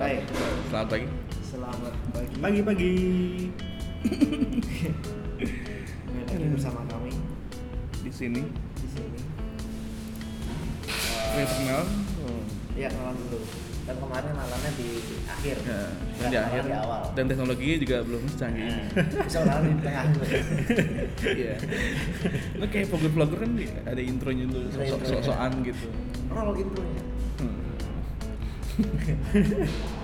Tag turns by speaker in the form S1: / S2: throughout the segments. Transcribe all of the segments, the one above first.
S1: Hai.
S2: Selamat pagi.
S1: Selamat pagi. Pagi-pagi. Kembali lagi bersama kami
S2: Di sini
S1: di sini.
S2: saya terkenal.
S3: Hmm.
S1: Ya kenalan dulu.
S3: Dan kemarin malamnya di akhir.
S2: Ya,
S3: Dan
S2: di akhir
S3: Di awal. Hmm.
S2: dan teknologinya juga belum secanggih ini.
S3: Bisa malam di tengah.
S2: Iya. Lo kayak vlogger-vlogger kan di- ada intronya dulu
S3: Ada
S2: sok-
S3: intronya.
S2: sok-sokan gitu.
S3: Roll intronya.
S2: Hmm.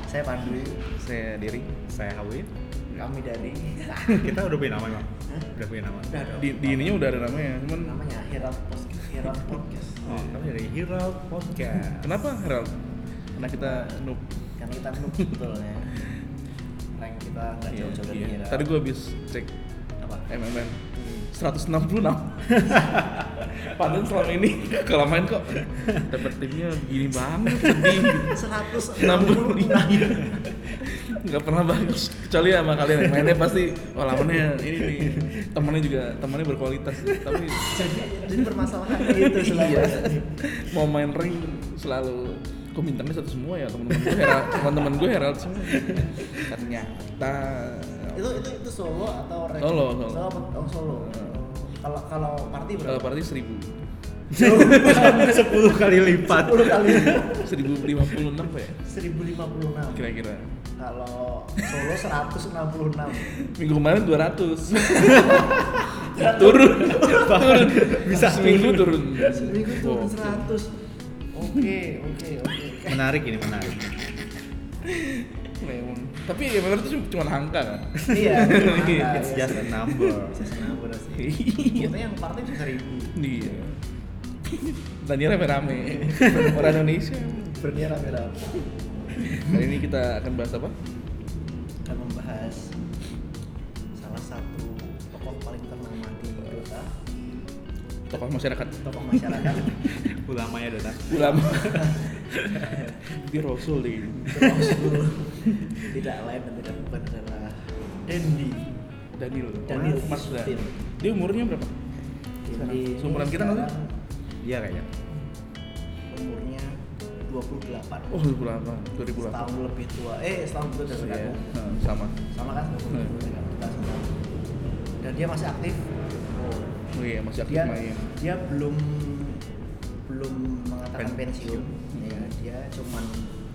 S3: Saya Pandu,
S4: saya Diri, saya Hawi.
S3: kami dari
S4: Kita udah punya nama emang?
S3: Hah?
S4: Udah punya nama.
S3: udah dong.
S2: Di, di ininya udah ada namanya, cuman
S3: namanya Hero Podcast. Hero Podcast.
S4: Oh, kami dari Hero Podcast.
S2: kenapa Herald? Karena kita noob.
S3: Karena kita noob betul ya. Rank kita nggak
S2: Iya,
S3: jauh-jauh dari
S2: iya.
S3: Hero.
S2: Tadi gue habis cek
S3: apa?
S2: MMM 166 Padahal selama ini kalau main kok dapet timnya begini banget sedih gitu.
S3: 100
S2: nggak pernah bagus kecuali ya sama kalian yang mainnya pasti oh lawannya ini nih temennya juga temennya berkualitas tapi
S3: jadi jadi permasalahannya itu selama
S2: Iya.
S3: ini.
S2: mau main ring selalu kok bintangnya satu semua ya teman-teman gue Herald teman-teman gue Herald semua ternyata
S3: itu itu itu solo atau rank?
S2: Solo, solo. Hmm.
S3: solo apa- oh, solo kalau kalau party
S2: kalau
S3: berapa
S2: eh, berarti seribu
S4: Sepuluh kali lipat.
S3: 10 kali
S2: seribu lima puluh enam apa ya
S3: 1056
S2: kira-kira
S3: kalau solo 166
S2: minggu kemarin 200 turun turun bisa seminggu turun
S3: seminggu tuh
S2: Wow.
S3: 100 oke oke oke
S4: Menarik ini menarik.
S2: Memang. tapi yang benar itu cuma angka kan
S3: iya
S2: Iya,
S4: It's Ah, just a number.
S2: iya
S3: Maksudnya yang party bisa 1000
S2: Iya. Dan dia rame-rame. Orang Indonesia.
S3: berniat rame-rame
S2: Kali ini kita akan bahas apa?
S3: akan membahas salah satu tokoh paling ternama di Dota
S2: Tokoh masyarakat.
S3: tokoh masyarakat
S4: Ulamanya Dota.
S2: Ulama. dia Rasul deh. ini.
S3: Rasul. tidak lain dan tidak bukan adalah Dendi
S2: Daniel.
S3: Daniel
S2: Mas Dan.
S3: Justin.
S2: Dia umurnya berapa? Sekarang. Seumuran kita nggak sih?
S3: sekarang
S4: Iya kayaknya.
S3: umurnya 28
S2: Oh, 2008. 2008.
S3: setahun lebih tua eh setahun tua dari
S2: Iya.
S3: aku
S2: Nah, sama.
S3: sama kan setahun
S2: Hmm.
S3: lebih tua dari kita semua dan dia masih aktif oh.
S2: Oh iya, masih aktif
S3: dia
S2: main.
S3: dia belum belum mengatakan pensiun,
S4: Pensiun.
S2: Hmm.
S3: ya dia cuman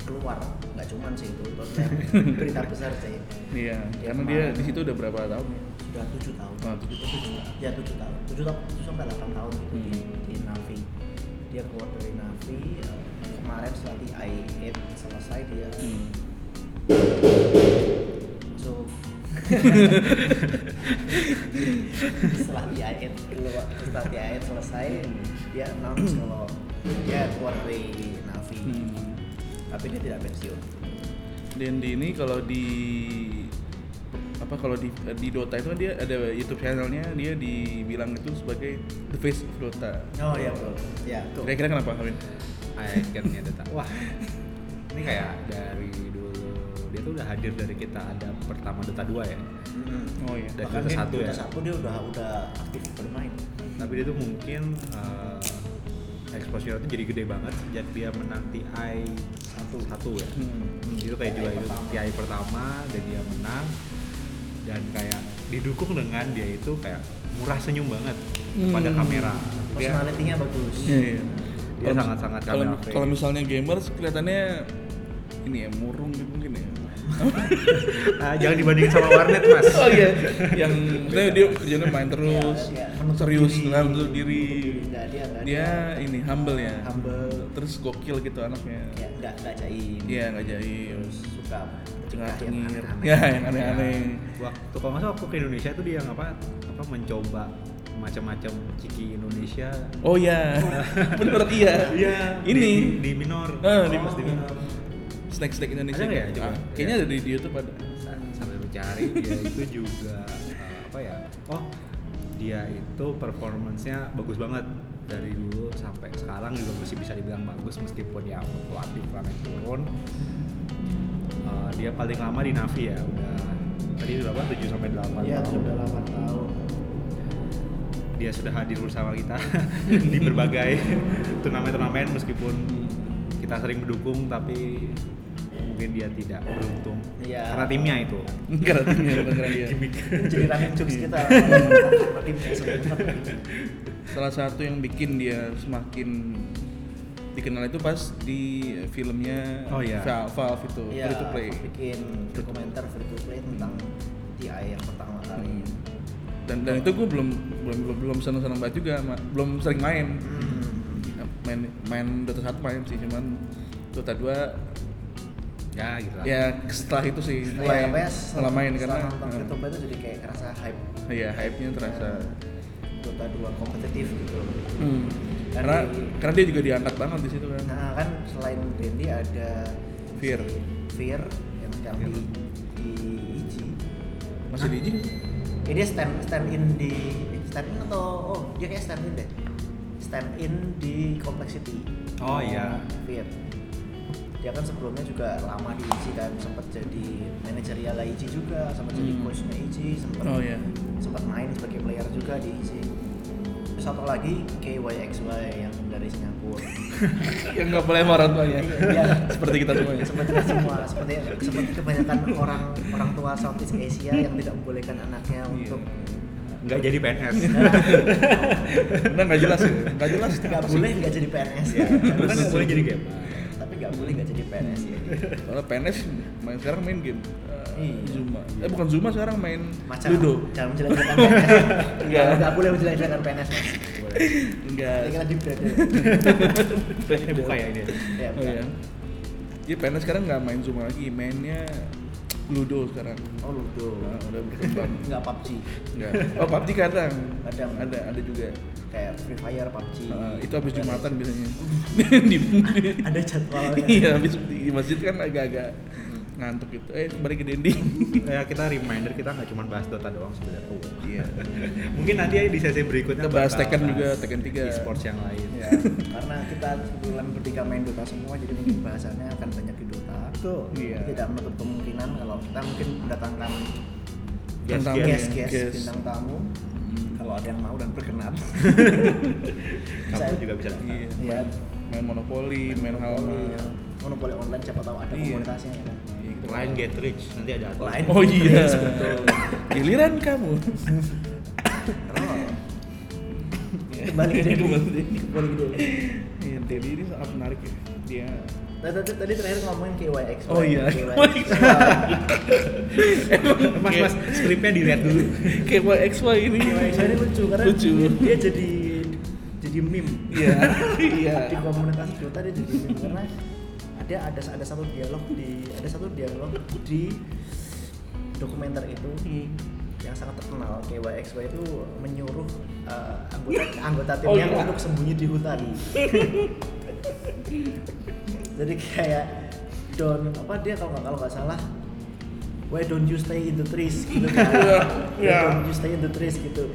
S3: keluar nggak cuman sih itu maksudnya berita besar sih
S2: Iya,
S3: Dia
S2: karena dia di situ udah berapa tahun? ya?
S3: sudah tujuh tahun
S2: Ah, tujuh
S3: ya tujuh tahun tujuh tahun tujuh sampai delapan tahun gitu di,
S2: Hmm.
S3: di Navi dia keluar dari Navi eh, kemarin setelah di I8 selesai dia
S2: Hmm.
S3: masuk setelah di I8 keluar setelah di I8 selesai dia announce kalau dia keluar dari Navi
S2: Hmm.
S3: tapi dia tidak pensiun
S2: Dan di ini kalau di apa kalau di di Dota itu kan dia ada YouTube channelnya dia dibilang itu sebagai the face of Dota.
S3: oh iya betul ya tuh
S2: Kira-kira kenapa Kawin?
S4: Iconnya Dota. Wah.
S3: wah
S4: Ini kayak dari dulu dia tuh udah hadir dari kita ada pertama Dota 2 ya.
S3: Mm-mm.
S2: Oh iya.
S4: Dari
S3: bahkan dia
S4: Dota 1
S3: Dota
S4: ya.
S3: satu dia udah udah aktif bermain
S4: Tapi dia tuh mungkin eh, exposure tuh jadi gede banget sejak dia menanti I satu satu ya.
S2: Hmm.
S4: Hmm, itu kayak
S3: TI
S4: juga itu
S3: pertama.
S4: TI pertama dan dia menang dan kayak didukung dengan dia itu kayak murah senyum banget pada
S2: Hmm.
S4: kamera dia,
S3: personalitinya bagus
S2: Iya, iya.
S4: dia
S2: Kalau-
S4: sangat-sangat
S2: kalau
S4: kamera
S2: kalau misalnya gamers kelihatannya ini ya murung gitu mungkin ya.
S4: Ah, jangan dibandingin sama warnet mas
S2: oh iya, yang maksudnya dia kerjanya main terus,
S3: Iya, iya. Menutup
S2: serius
S3: diri.
S2: dalam menutup diri.
S3: Nggak, dia nggak,
S2: Dia ini humble ya.
S3: humble
S2: Terus gokil gitu anaknya.
S3: ya nggak nggak jaim
S2: Iya, nggak jaim.
S3: terus suka
S2: cengar cengir
S3: ya
S2: ya yang aneh-aneh
S4: waktu kalau nggak salah waktu ke Indonesia itu dia yang apa apa mencoba macam-macam ciki Indonesia
S2: oh ya bener iya
S4: di-
S2: ini
S4: di, di minor Oh.
S2: Ah, di-
S4: Mas,
S2: di Minor. snack snack Indonesia
S4: Ada nggak ya,
S2: gitu.
S4: coba?
S2: Ah, kayaknya ada di, di YouTube ada
S4: sambil mencari dia itu juga eh, apa ya oh dia itu performance-nya bagus banget dari dulu sampai sekarang juga masih bisa dibilang bagus meskipun ya fluktuatif banget turun Eh, dia paling lama di Navi ya udah tadi berapa 7 sampai 8
S3: dia
S4: tahun.
S3: Iya, sudah 8 tahun
S4: dia sudah hadir bersama kita di berbagai turnamen-turnamen meskipun kita sering mendukung tapi mungkin dia tidak beruntung
S3: Iya.
S4: karena timnya itu
S2: Karena timnya bukan karena dia.
S3: Jadi running jokes kita. Timnya sebenarnya.
S2: Salah satu yang bikin dia semakin dikenal itu pas di filmnya
S4: Oh, iya.
S2: Valve, Valve itu
S3: Iya,
S2: Free to Play.
S3: bikin dokumenter free to play tentang di air pertama kali.
S2: Dan dan itu gue belum belum belum, belum seneng seneng banget juga, ma- belum sering main.
S3: Hmm.
S2: Main main Dota satu main sih, cuman Dota 2
S4: ya gitu lah.
S2: ya setelah itu sih mulai
S3: Mulai apa ya? setelah-
S2: setelah main
S3: setelah
S2: karena Hmm.
S3: nonton free to play itu jadi kayak kerasa hype.
S2: eh, iya hype-nya terasa.
S3: Dota 2 kompetitif gitu.
S2: Hmm.
S3: Dan
S2: Karena
S3: di-
S2: karena dia juga diangkat banget di situ kan.
S3: Nah kan selain Randy ada
S2: Fear.
S3: si Fear yang sekarang di, di IG.
S2: Masih di izin?
S3: Eh, dia stand stand in di eh, stand in atau oh dia kayak stand in deh. Stand in di complexity.
S4: Oh, iya.
S3: Fear. Dia kan sebelumnya juga lama di IG kan sempat jadi manajerial IG juga, sempat jadi
S2: Hmm.
S3: coachnya IG, sempat
S2: Oh iya.
S3: sempat main sebagai player juga di IG. Terus satu lagi KYXY yang dari Singapura.
S2: yang nggak boleh sama orang tuanya.
S3: Iya.
S2: Iya. Seperti kita semua ya.
S3: seperti kita semua seperti seperti kebanyakan orang orang tua Southeast Asia yang tidak membolehkan anaknya
S2: Iya.
S3: untuk
S4: nggak jadi PNS
S2: Karena nggak jelas ya. Nggak jelas.
S3: nggak boleh nggak jadi PNS
S4: ya, bukan nggak boleh jadi game
S3: Kan tapi nggak boleh nggak jadi PNS ya
S2: Soalnya PNS main sekarang main game.
S3: Iya.
S2: Eh, Zuma. Eh bukan Zuma sekarang main
S3: macam
S2: Ludo.
S3: jangan menjelek-jelekan PNS
S2: Nggak.
S3: nggak nggak boleh menjelek-jelekan PNS mas boleh Ini
S2: Enggak.
S3: kan di berada
S4: PNS buka ya ini
S3: ya
S2: Oh iya. Jadi PNS sekarang nggak main Zuma lagi, mainnya Ludo sekarang.
S3: oh ludo
S2: Nah, udah berkembang.
S3: nggak PUBG
S2: Enggak. Oh PUBG kadang.
S3: Kadang.
S2: Ada ada juga.
S3: kayak Free Fire PUBG
S2: Eh, itu habis jumatan biasanya. di, di-
S3: ada jadwalnya
S2: iya habis di, di masjid kan agak-agak ngantuk gitu. Eh kembali ke Dendi.
S4: ya kita reminder kita nggak cuma bahas Dota doang sebenarnya Oh,
S2: Iya.
S4: mungkin nanti ya di sesi
S2: Kita
S4: berikutnya
S2: bahas
S4: bakal
S2: Tekken
S4: bahas
S2: juga, Tekken 3.
S4: e-sports yang lain
S3: ya karena kita kebetulan ketika main Dota semua jadi mungkin bahasannya akan banyak di Dota
S4: betul
S2: Iya.
S3: tidak menutup kemungkinan kalau kita mungkin mendatangkan
S4: Yes,
S2: Tentang-
S4: yes.
S2: Guest,
S3: guest-guest
S2: guest. Hmm.
S3: bintang tamu kalau ada yang mau dan berkenan
S4: kamu juga bisa datang
S2: Iya.
S3: ya
S2: Main monopoli, main hal
S3: Iya. monopoli online siapa tahu ada
S2: Iya.
S3: komunitasnya ya kan?
S4: lain get rich nanti ada aturan.
S3: Lain.
S2: Gitu. Oh iya.
S3: Betul.
S2: Giliran kamu.
S3: Kenapa? kembali ke Dedi
S2: Kembali ke Dedi.
S3: kembali ke Dedi
S2: Iya, Dedi ini sangat menarik ya. Dia
S3: Nah, tadi, tadi terakhir ngomongin KYX
S2: Oh iya.
S3: KYX
S4: mas mas scriptnya dilihat dulu
S2: KYXY ini.
S3: KYX ini lucu karena
S2: Iya, Lucu.
S3: dia jadi jadi meme
S2: Iya. Iya.
S3: di komunitas Dota dia jadi meme karena ada ada ada satu dialog di ada satu dialog di dokumenter itu yang sangat terkenal KYXY itu menyuruh eh, anggota anggota
S2: Oh,
S3: timnya
S2: iya.
S3: untuk sembunyi di hutan. Jadi kayak don apa dia kalau nggak kalau nggak salah why don't you stay in the trees gitu kan why
S2: Iya.
S3: don't you stay in the trees gitu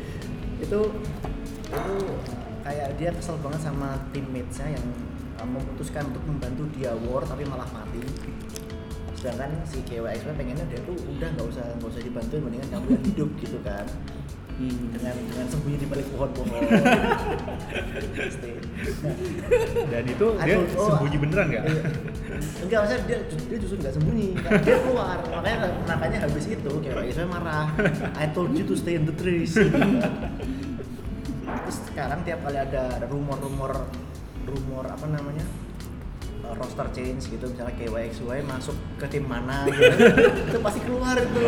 S3: itu itu kayak dia kesel banget sama teammates-nya yang eh, memutuskan untuk membantu dia war tapi malah mati sedangkan si KWXP kan pengennya dia tuh udah nggak usah nggak usah dibantuin mendingan kamu yang hidup gitu kan
S2: Hmm.
S3: dengan dengan sembunyi di balik pohon-pohon Pasti.
S4: dan itu
S3: Nah,
S4: dia
S3: aduh, oh,
S4: sembunyi beneran nggak
S3: iya. enggak maksudnya dia dia justru nggak sembunyi dia keluar makanya makanya habis itu KWXP marah I told you to stay in the trees gitu kan. terus sekarang tiap kali ada ada rumor-rumor rumor apa namanya eh, roster change gitu misalnya KYXY masuk ke tim mana gitu itu pasti keluar itu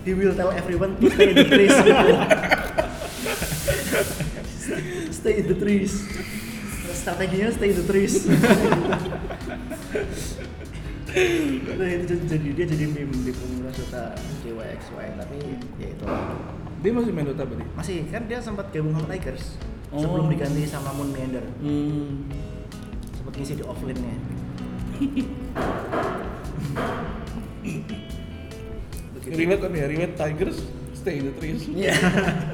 S3: he will tell everyone to stay in the trees gitu. stay in the trees strateginya stay in the trees nah itu jadi dia jadi meme di pengurus serta JYXY tapi ya itu
S2: Dia masih main Dota berarti.
S3: masih kan dia sempat gabung sama Tigers
S2: Oh.
S3: sebelum diganti sama Moon Meander
S2: Hmm.
S3: sempat ngisi di offline nya
S2: Relate kan ya, relate Tigers stay in the trees.
S3: Iya.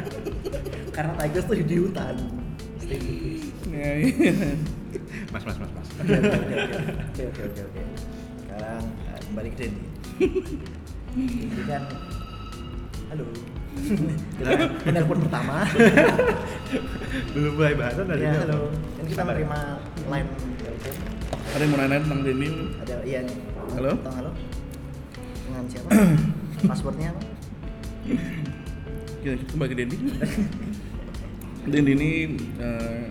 S3: Karena Tigers tuh di hutan. Stay di hutan.
S2: Ya, iya.
S4: mas mas mas mas
S3: Oke, oke, oke, oke, oke, oke, oke. Sekarang eh, kembali ke Dendi. Jadi kan, halo. Penelpon pertama.
S4: belum mulai bahasan dari
S3: ya,
S4: itu.
S3: halo. Dan kita
S4: ya.
S3: menerima line telepon.
S2: Ada yang mau nanya tentang Dendim?
S3: Ada iya nih.
S2: Halo?
S3: Tentang halo. Dengan siapa? Passwordnya apa?
S2: Kita kembali ke Dendim. Dendim ini eh,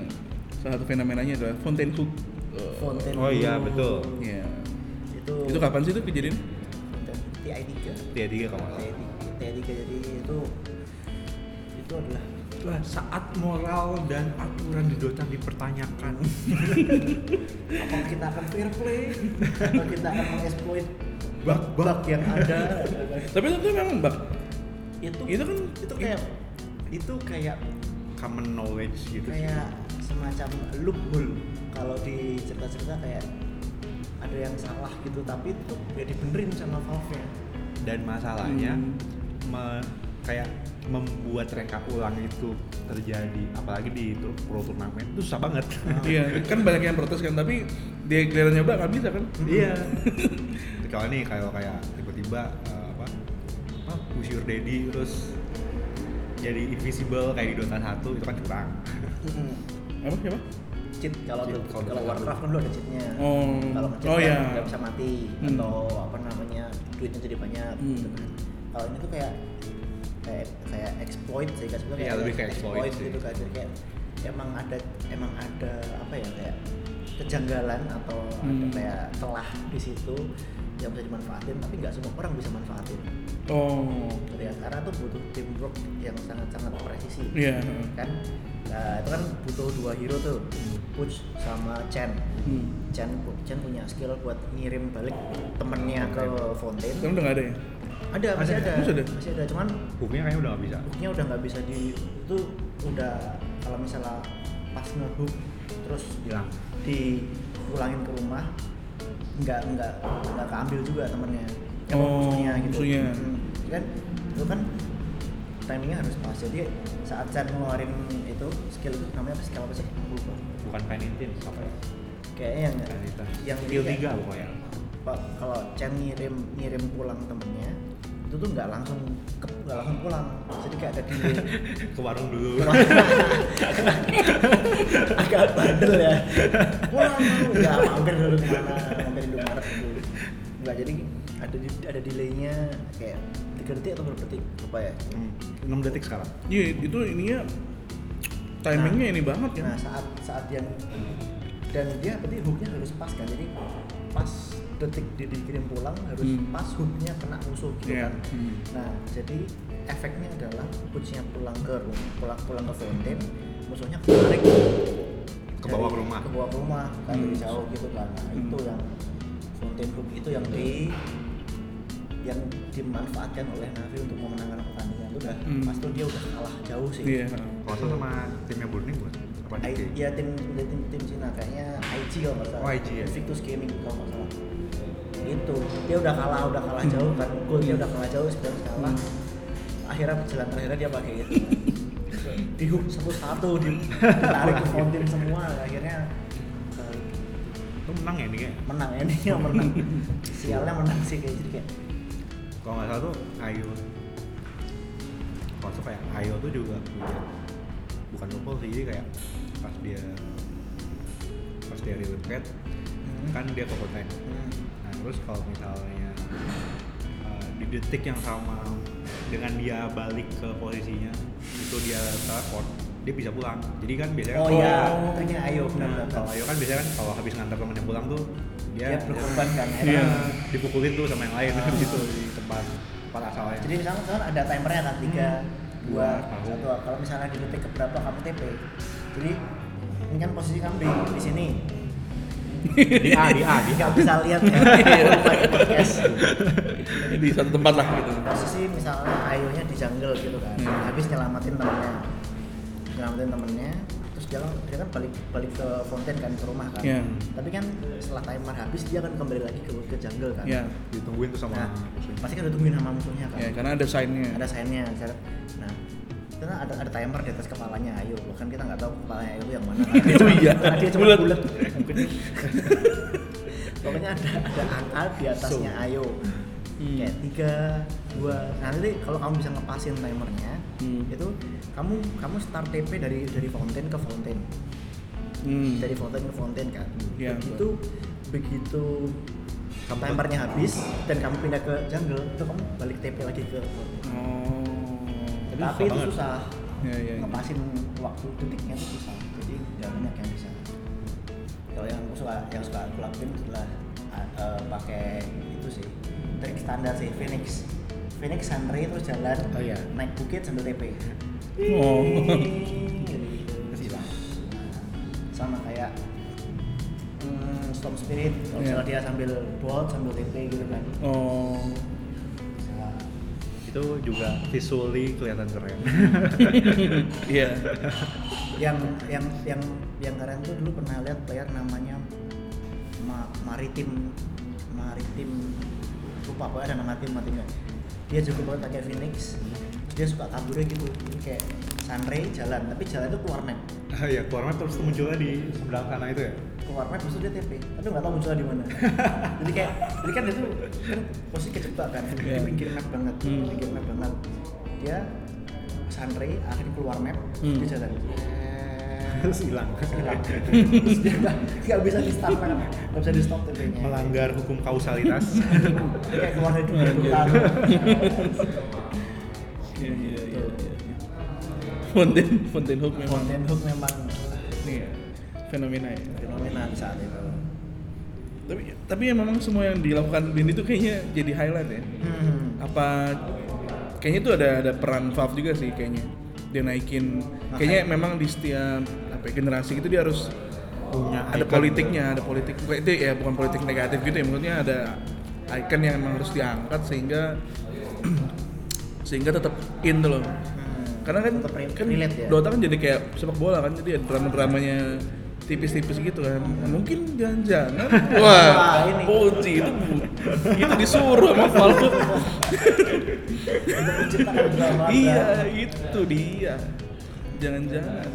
S2: salah satu fenomenanya adalah Fontaine Cook. Eh,
S3: Fonten.
S4: Oh iya, betul.
S2: Iya.
S3: Itu
S2: Itu kapan sih itu kejadian?
S3: TI3.
S4: Dia tiga kalau nggak salah.
S3: TI3 jadi itu itu adalah
S4: Lah, saat moral dan aturan di Dota dipertanyakan.
S3: apa kita akan fair play atau kita akan mengeksploit
S4: Bug-bug.
S3: bug yang ada
S2: Tapi itu, itu memang bak.
S3: itu
S2: Itu kan
S3: itu kayak itu kayak
S4: Common knowledge gitu.
S3: kayak semacam loophole kalau di cerita-cerita kayak ada yang salah gitu tapi itu ya dibenerin sama Valve nya
S4: Dan masalahnya
S2: Hmm.
S4: me- kayak membuat reka ulang itu terjadi apalagi di tur- pro turnamen itu susah banget.
S2: Iya, kan banyak yang protes kan, tapi dia kelihatannya nyoba nggak bisa kan?
S4: Iya. kalau nih kalau kayak tiba-tiba eh, apa? Apa push your daddy terus jadi invisible kayak di Dota 1 itu kan curang.
S2: Apa siapa?
S3: cheat kalau
S4: Cheat,
S3: tuh-
S4: kalau
S3: kalau
S4: misalkan
S3: Warcraft kan lu ada cheatnya
S2: Oh.
S3: kalau ngecheat
S2: Oh,
S3: kan
S2: iya.
S3: nggak bisa mati
S2: Hmm.
S3: atau apa namanya duitnya jadi banyak
S2: Hmm.
S3: gitu kan kalau ini tuh kayak kayak kayak exploit sih kan sebenarnya
S4: Iya, lebih kayak exploit sih.
S3: gitu kan jadi kayak emang ada emang ada apa ya kayak kejanggalan atau ada
S2: Hmm.
S3: kayak celah di situ yang bisa dimanfaatin tapi nggak semua orang bisa manfaatin
S2: Oh,
S3: gitu ya karena tuh butuh teamwork yang sangat-sangat presisi
S2: Iya.
S3: kan Nah, itu kan butuh dua hero tuh Puch sama Chen
S2: hmm.
S3: Chen, Chen punya skill buat ngirim balik temennya ke
S2: sekarang
S3: Fountain
S2: udah nggak ada ya?
S3: ada masih
S2: Ada. ya?
S3: ada
S2: Masih ada?
S3: masih ada cuman
S4: Hooknya kayaknya udah nggak bisa.
S3: hooknya udah nggak bisa di itu udah kalau misalnya pas ngehook terus
S4: Hilang.
S3: diulangin ke rumah nggak nggak nggak keambil juga temennya Apa
S2: Oh, musuhnya.
S3: Hmm, kan itu kan timingnya harus pas jadi saat Chan ngeluarin itu skill itu namanya apa skill apa sih Aku lupa
S4: Bukan penitin apa ya?
S3: kayaknya yang
S4: Penitin.
S3: yang
S4: skill
S3: kayak-
S4: 3 pokoknya.
S3: Pak, kalau Chen ngirim ngirim pulang temennya itu tuh nggak langsung ke, nggak langsung pulang jadi kayak ada delay
S4: Ke warung dulu.
S3: agak bandel ya pulang mau nggak mampir dulu kemana mampir Indomaret dulu nggak jadi ada di- ada delaynya kayak tiga detik atau berapa detik apa ya
S4: Hmm, 6 detik sekarang.
S2: Iya, itu ininya timingnya ini banget ya.
S3: nah saat saat yang dan dia berarti hooknya harus pas kan jadi pas detik dia dikirim pulang harus
S2: Hmm.
S3: pas hooknya kena musuh gitu
S2: Iya.
S3: kan
S2: Hmm.
S3: Nah, jadi efeknya adalah kucingnya pulang ke rumah, pulang pulang ke fountain, musuhnya ketarik
S4: Ke bawah ke rumah.
S3: ke bawah ke rumah kan
S2: Hmm.
S3: dari jauh gitu kan. Nah,
S2: Hmm.
S3: itu yang fountain hook itu yang di yang dimanfaatkan oleh Navi untuk memenangkan pertandingan itu udah
S2: Hmm.
S3: pas tuh dia udah kalah jauh sih.
S2: Iya.
S4: Kalau saya sama timnya Burning buat apa
S3: I,
S4: DK?
S3: ya tim ya, tim tim Cina kayaknya IG kalau nggak salah.
S4: Oh, IG, ya.
S3: Invictus Gaming kalau nggak salah. Itu dia udah kalah udah kalah jauh kan.
S4: Hmm.
S3: Goalnya udah kalah jauh sekarang kalah. Akhirnya jalan terakhirnya dia pakai itu. di hook satu-satu di- ditarik ke fountain semua akhirnya eh,
S4: Itu menang ya ini kayak.
S3: menang ya dia menang sialnya menang sih kayak jadi kayak
S4: Kalau nggak salah tuh Ayo. Kalau saya kayak Ayo tuh juga punya bukan loophole sih jadi kayak pas dia pas dia real cat
S3: hmm,
S4: kan dia ke konten.
S3: hmm,
S4: Nah terus kalau misalnya uh, di detik yang sama dengan dia balik ke posisinya itu dia teleport dia bisa pulang. Jadi kan biasanya
S3: Oh
S4: kalau-
S3: iya, triknya Ayo, benar,
S4: Nah,
S3: benar.
S4: kalau Ayo kan biasanya kan kalau habis ngantar temennya pulang tuh dia,
S3: dia berkorban kan
S4: Iya,
S3: akhirnya.
S4: dipukulin tuh sama yang lain gitu di tempat tempat asalnya.
S3: Jadi misalnya kan ada timernya kan tiga, dua,
S4: Iya, Tahu.
S3: satu. Kalau misalnya di detik keberapa kamu TP. Jadi ini kan posisi kamu di, di sini.
S4: di A, di A, Iya. di A.
S3: Nggak bisa lihat ya. Kalau pakai podcast.
S2: Di satu tempat lah gitu.
S3: Posisi misalnya ayonya di jungle gitu kan.
S2: Hmm.
S3: Habis nyelamatin temennya. Nyelamatin temennya. Terus dia, dia kan balik balik ke fountain kan ke rumah kan.
S2: Iya.
S3: Tapi kan setelah timer habis dia akan kembali lagi ke, ke jungle kan.
S2: Iya.
S4: Ditungguin tuh sama
S3: Nah,
S4: musuhnya.
S3: pasti kan udah tungguin sama musuhnya kan.
S4: Iya,
S2: Ya, karena ada sign-nya.
S3: ada sayangnya cara- nah karena ada ada timer di atas kepalanya ayo bahkan kita nggak tahu kepalanya ayo yang mana Karena dia
S2: Oh
S3: cuma-
S2: iya.
S3: karena dia cuma
S2: Bulat.
S3: bulat pokoknya ada ada angka di atasnya ayo
S2: Hmm.
S3: kayak tiga dua nah nanti kalau kamu bisa ngepasin timernya
S2: Hmm.
S3: itu kamu kamu start TP dari dari fountain ke fountain
S2: Hmm.
S3: dari fountain ke fountain kan
S2: Iya,
S3: begitu begitu
S4: Kamu-
S3: timernya habis dan kamu pindah ke jungle itu kamu balik TP lagi ke fountain.
S2: Oh.
S3: tapi itu
S4: susah banget. Iya,
S3: susah
S2: Ya, ya, ya.
S3: ngepasin waktu detiknya itu susah jadi gak banyak yang bisa kalau yang aku suka yang suka aku lakuin adalah ah, eh, pakai itu sih trik standar sih Phoenix Phoenix sunray terus jalan
S4: Oh, iya.
S3: naik bukit sambil TP
S2: Oh.
S3: Gila. gitu. sama kayak hmm, Storm Spirit kalau
S2: Iya.
S3: misalnya dia sambil bolt sambil TP gitu kan
S2: Oh.
S3: bisa
S4: itu juga visually kelihatan keren
S2: Iya.
S3: yang yang yang yang keren tuh dulu pernah lihat player namanya Ma- maritim maritim lupa apa ada nama tim maritim dia juga banget pakai phoenix
S2: Hmm.
S3: dia suka kaburnya gitu Jadi kayak sunray jalan tapi jalan itu keluar map
S4: Ah, ya keluar map terus munculnya di sebelah kanan itu ya
S3: keluar map terus dia TP tapi nggak tahu munculnya di mana jadi kayak jadi kan itu kan posisi kejebak kan
S2: Iya.
S3: di pinggir map banget di
S2: Hmm.
S3: pinggir map banget dia sunray akhirnya keluar map
S2: Hmm.
S3: dia jalan
S4: terus hilang
S3: hilang.
S4: Iya.
S3: Terus dia nggak- nggak bisa di start kan nggak bisa di stop TV-nya
S4: melanggar hukum kausalitas
S3: kayak keluar dari dunia
S2: Anjir.
S3: hutan.
S2: Iya, iya, iya. iya. Fountain, fountain hook memang
S3: konten hook memang
S2: nih ya, fenomena ya.
S3: fenomena di saat itu
S2: Tapi tapi ya memang semua yang dilakukan Bindi itu kayaknya jadi highlight ya.
S3: hmm.
S2: Apa kayaknya itu ada ada peran Valve juga sih kayaknya. Dia naikin kayaknya memang di setiap apa ya, generasi itu dia harus
S4: punya
S2: ada
S4: icon.
S2: politiknya, ada politik bukan- itu ya bukan politik negatif gitu ya maksudnya ada icon yang memang harus diangkat sehingga sehingga tetap in tuh loh. Karena kan,
S3: Tetap re-
S2: kan
S3: relate ya.
S2: Dota kan jadi kayak sepak bola kan jadi ada drama-dramanya tipis-tipis gitu kan. Mungkin jangan-jangan
S3: Wah,
S2: wah,
S3: ini.
S2: Poji itu bu- itu disuruh sama Valve.
S3: untuk menciptakan drama
S2: iya, itu dia. Jangan-jangan.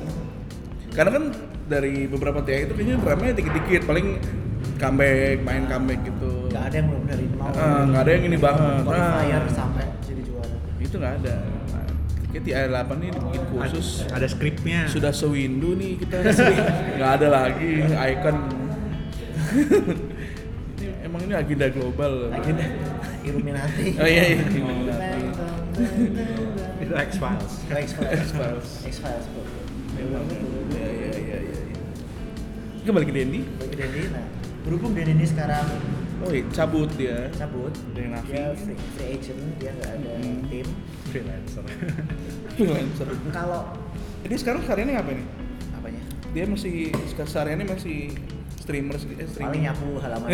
S2: Karena kan dari beberapa TA itu kayaknya dramanya dikit-dikit paling comeback, main comeback gitu.
S3: nggak ada yang belum dari nol
S2: Ah, nggak ada yang ini banget.
S3: qualifier
S2: Ah.
S3: sampai jadi juara
S2: Itu nggak ada. Nah, Kayak TA 8 ini dibikin khusus
S4: ada skripnya
S2: sudah sewindu nih kita sini. nggak ada lagi icon ini, emang ini agenda global loh.
S3: akhirnya Illuminati
S2: oh iya iya
S4: itu X Files
S3: X Files
S2: X-Files.
S3: X Files bro
S2: memang ya ya ya ya ya. kembali ke Dendi
S3: bagi Denny nah berhubung Denny ini sekarang
S2: oh iya, cabut dia
S3: cabut
S2: Dari Navi.
S3: dia free, free agent dia nggak ada
S2: Hmm.
S3: tim
S4: freelancer
S2: freelancer
S3: kalau
S2: jadi sekarang sehariannya apa nih
S3: apanya
S2: dia masih sehariannya masih streamer eh,
S3: paling
S2: streaming
S3: nyapu halaman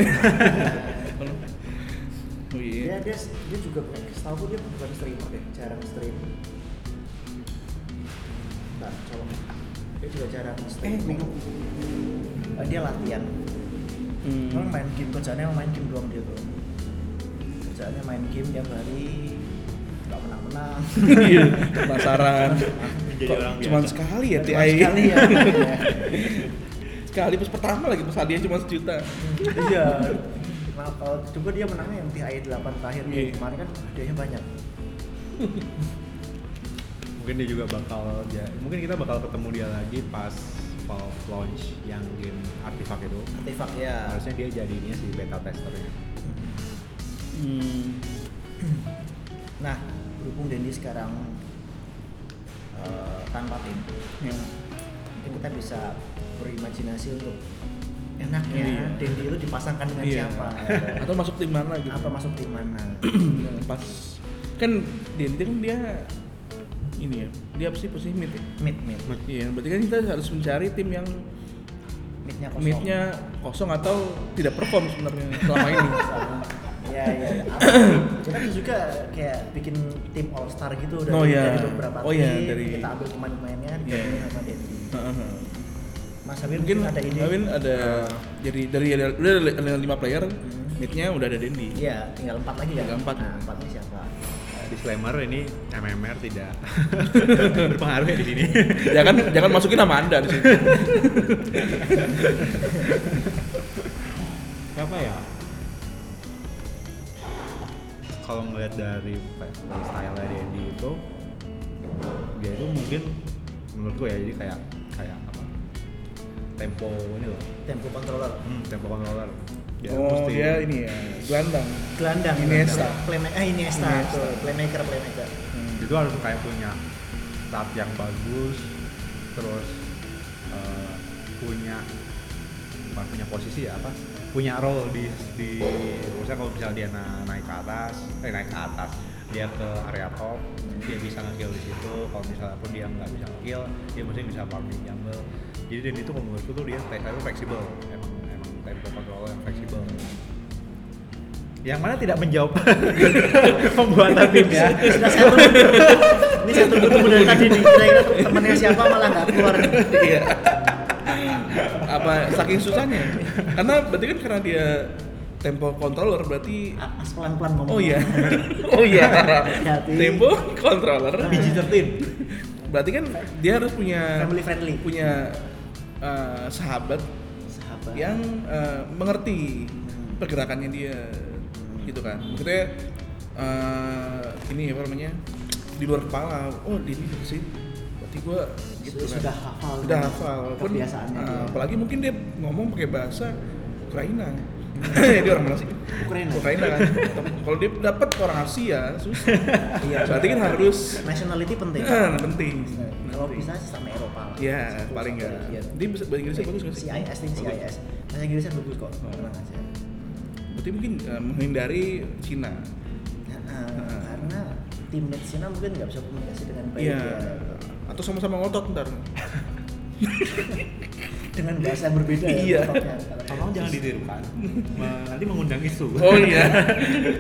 S3: Iya,
S2: oh
S3: dia
S2: iya
S3: dia dia juga setahu aku dia bukan streamer deh jarang stream Bentar, colong dia juga jarang
S2: eh
S3: streaming
S2: Google.
S3: Eh, dia latihan
S2: Hmm.
S3: Orang main game kerjaannya main game doang dia tuh kerjaannya main game tiap hari nggak menang menang
S2: Iya, penasaran.
S4: Jadi
S2: Kok
S4: orang biasa.
S2: cuman sekali ya TI.
S3: sekali ya
S2: Sekali pas pertama lagi pas hadiah cuma sejuta.
S3: iya nah, kalau coba dia menangnya yang TI 8 terakhir nih.
S2: Iya.
S3: kemarin kan hadiahnya banyak
S4: mungkin dia juga bakal ya, mungkin kita bakal ketemu dia lagi pas Valve launch yang game artifak itu
S3: artefak
S2: Iya.
S3: ya
S4: harusnya dia jadinya si beta ya. testernya
S2: Hmm.
S3: Nah, berhubung Dendi sekarang eh, tanpa tim,
S2: Ya.
S3: mungkin kita bisa berimajinasi untuk enaknya
S2: Iya.
S3: Dendi itu dipasangkan dengan
S2: Iya.
S3: siapa,
S2: Atau masuk tim mana gitu.
S3: apa masuk tim mana.
S2: Yang pas kan Dente kan dia ini ya. Dia apa sih posisi mid ya?
S3: Mid mid,
S2: Iya, berarti kan kita harus mencari tim yang
S3: midnya kosong.
S2: midnya kosong atau tidak perform sebenarnya selama ini.
S3: Ya ya. ya. Apa? Kita bisa juga kayak bikin tim all star gitu dari,
S2: Oh, iya.
S3: dari beberapa
S2: Oh,
S3: tim,
S2: iya, dari-
S3: kita ambil pemain-pemainnya
S2: Iya.
S3: digabungin sama Dendi.
S2: Heeh.
S3: Mas Habib
S2: mungkin
S3: ada ide. Ah.
S2: Awin ada jadi dari ada udah ada li- ada lima player,
S3: Hmm.
S2: midnya udah ada Dendi.
S3: Iya, tinggal empat lagi ya.
S2: Tinggal empat.
S3: Nah, empatnya siapa?
S4: disclaimer ini MMR tidak berpengaruh ya di sini
S2: jangan jangan masukin nama anda di situ.
S4: apa ya kalau ngeliat dari style dia di itu dia itu mungkin menurut gue ya jadi kayak kayak apa tempo ini loh
S3: tempo controller
S4: hmm, tempo controller Dia
S2: oh
S4: mesti-
S2: dia ini ya gelandang
S3: gelandang
S2: Iniesta.
S3: playmaker eh, Iniesta,
S2: Iniesta.
S3: betul. playmaker playmaker
S2: Hmm.
S4: itu harus kayak punya start yang bagus terus eh, punya bukan punya posisi ya apa punya role di di misalnya kalau misalnya dia na- naik ke atas eh naik ke atas dia ke area top dia bisa ngekill di situ kalau misalnya pun dia nggak bisa ngekill dia mesti bisa farming gamble jadi dan itu kalau menurutku tuh dia tempo fleksibel emang emang tempo control yang fleksibel yang mana tidak menjawab pembuatan tim ya
S3: sudah saya tunggu ini saya tunggu tunggu dari tadi nih kira-kira temennya siapa malah nggak keluar
S2: Iya. apa saking susahnya karena berarti kan karena dia tempo controller berarti
S3: Apas Ah, pelan-pelan ngomong
S2: oh iya oh iya
S3: Hati-hati.
S2: tempo controller
S3: Biji
S2: 13 berarti kan dia harus punya
S3: family friendly
S2: punya eh, sahabat
S3: sahabat
S2: yang eh, mengerti pergerakannya dia gitu kan maksudnya eh, ini apa namanya di luar kepala oh dia ini sih berarti gua gitu
S3: Sudah-
S2: kan.
S3: sudah hafal
S2: sudah
S3: dengan
S2: hafal Walaupun,
S3: kebiasaannya Iya.
S2: eh,
S3: dia.
S2: apalagi mungkin dia ngomong pakai bahasa Ukraina dia orang mana sih
S3: Ukraina.
S2: Ukraina kan kalau dia dapat orang Asia susah
S3: Iya.
S2: berarti kan harus
S3: nationality penting Iya.
S2: eh, penting
S3: kalau bisa sih sama Eropa lah
S2: ya
S3: Satu iya.
S2: paling
S3: sama
S2: enggak
S3: bagian.
S2: dia bisa bahasa Inggrisnya bagus nggak sih
S3: CIS nih
S2: Bagus.
S3: CIS bahasa Inggrisnya bagus kok
S2: Oh.
S3: tenang aja
S2: berarti mungkin eh, menghindari Cina
S3: Nah, eh, karena tim Cina mungkin nggak bisa komunikasi dengan baik
S2: iya
S3: ya.
S2: atau sama-sama ngotot ntar
S3: dengan bahasa yang berbeda ya
S2: Iya.
S3: tepatnya.
S4: Tolong jangan ditirukan. Me- Nanti mengundang isu.
S2: oh iya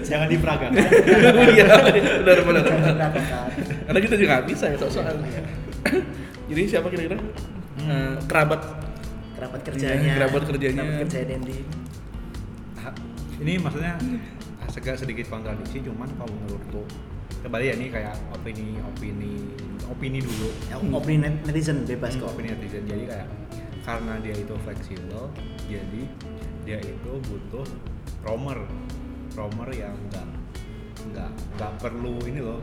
S4: jangan diperagakan.
S2: oh iya benar benar
S3: Jangan diperagakan. Iya.
S2: karena kita juga nggak bisa ya soal jadi siapa kira-kira Eh, kerabat
S3: kerabat kerjanya
S2: Iya, kerabat kerjanya.
S3: kerabat kerja Dendi
S4: Ha- Ini maksudnya agak sedikit kontradiksi cuman kalau menurutku kembali ya ini kayak opini opini opini dulu
S3: ya, opini net- netizen bebas
S4: Hmm,
S3: kok
S4: opini netizen jadi kayak karena dia itu fleksibel jadi dia itu butuh romer romer yang enggak enggak enggak perlu ini loh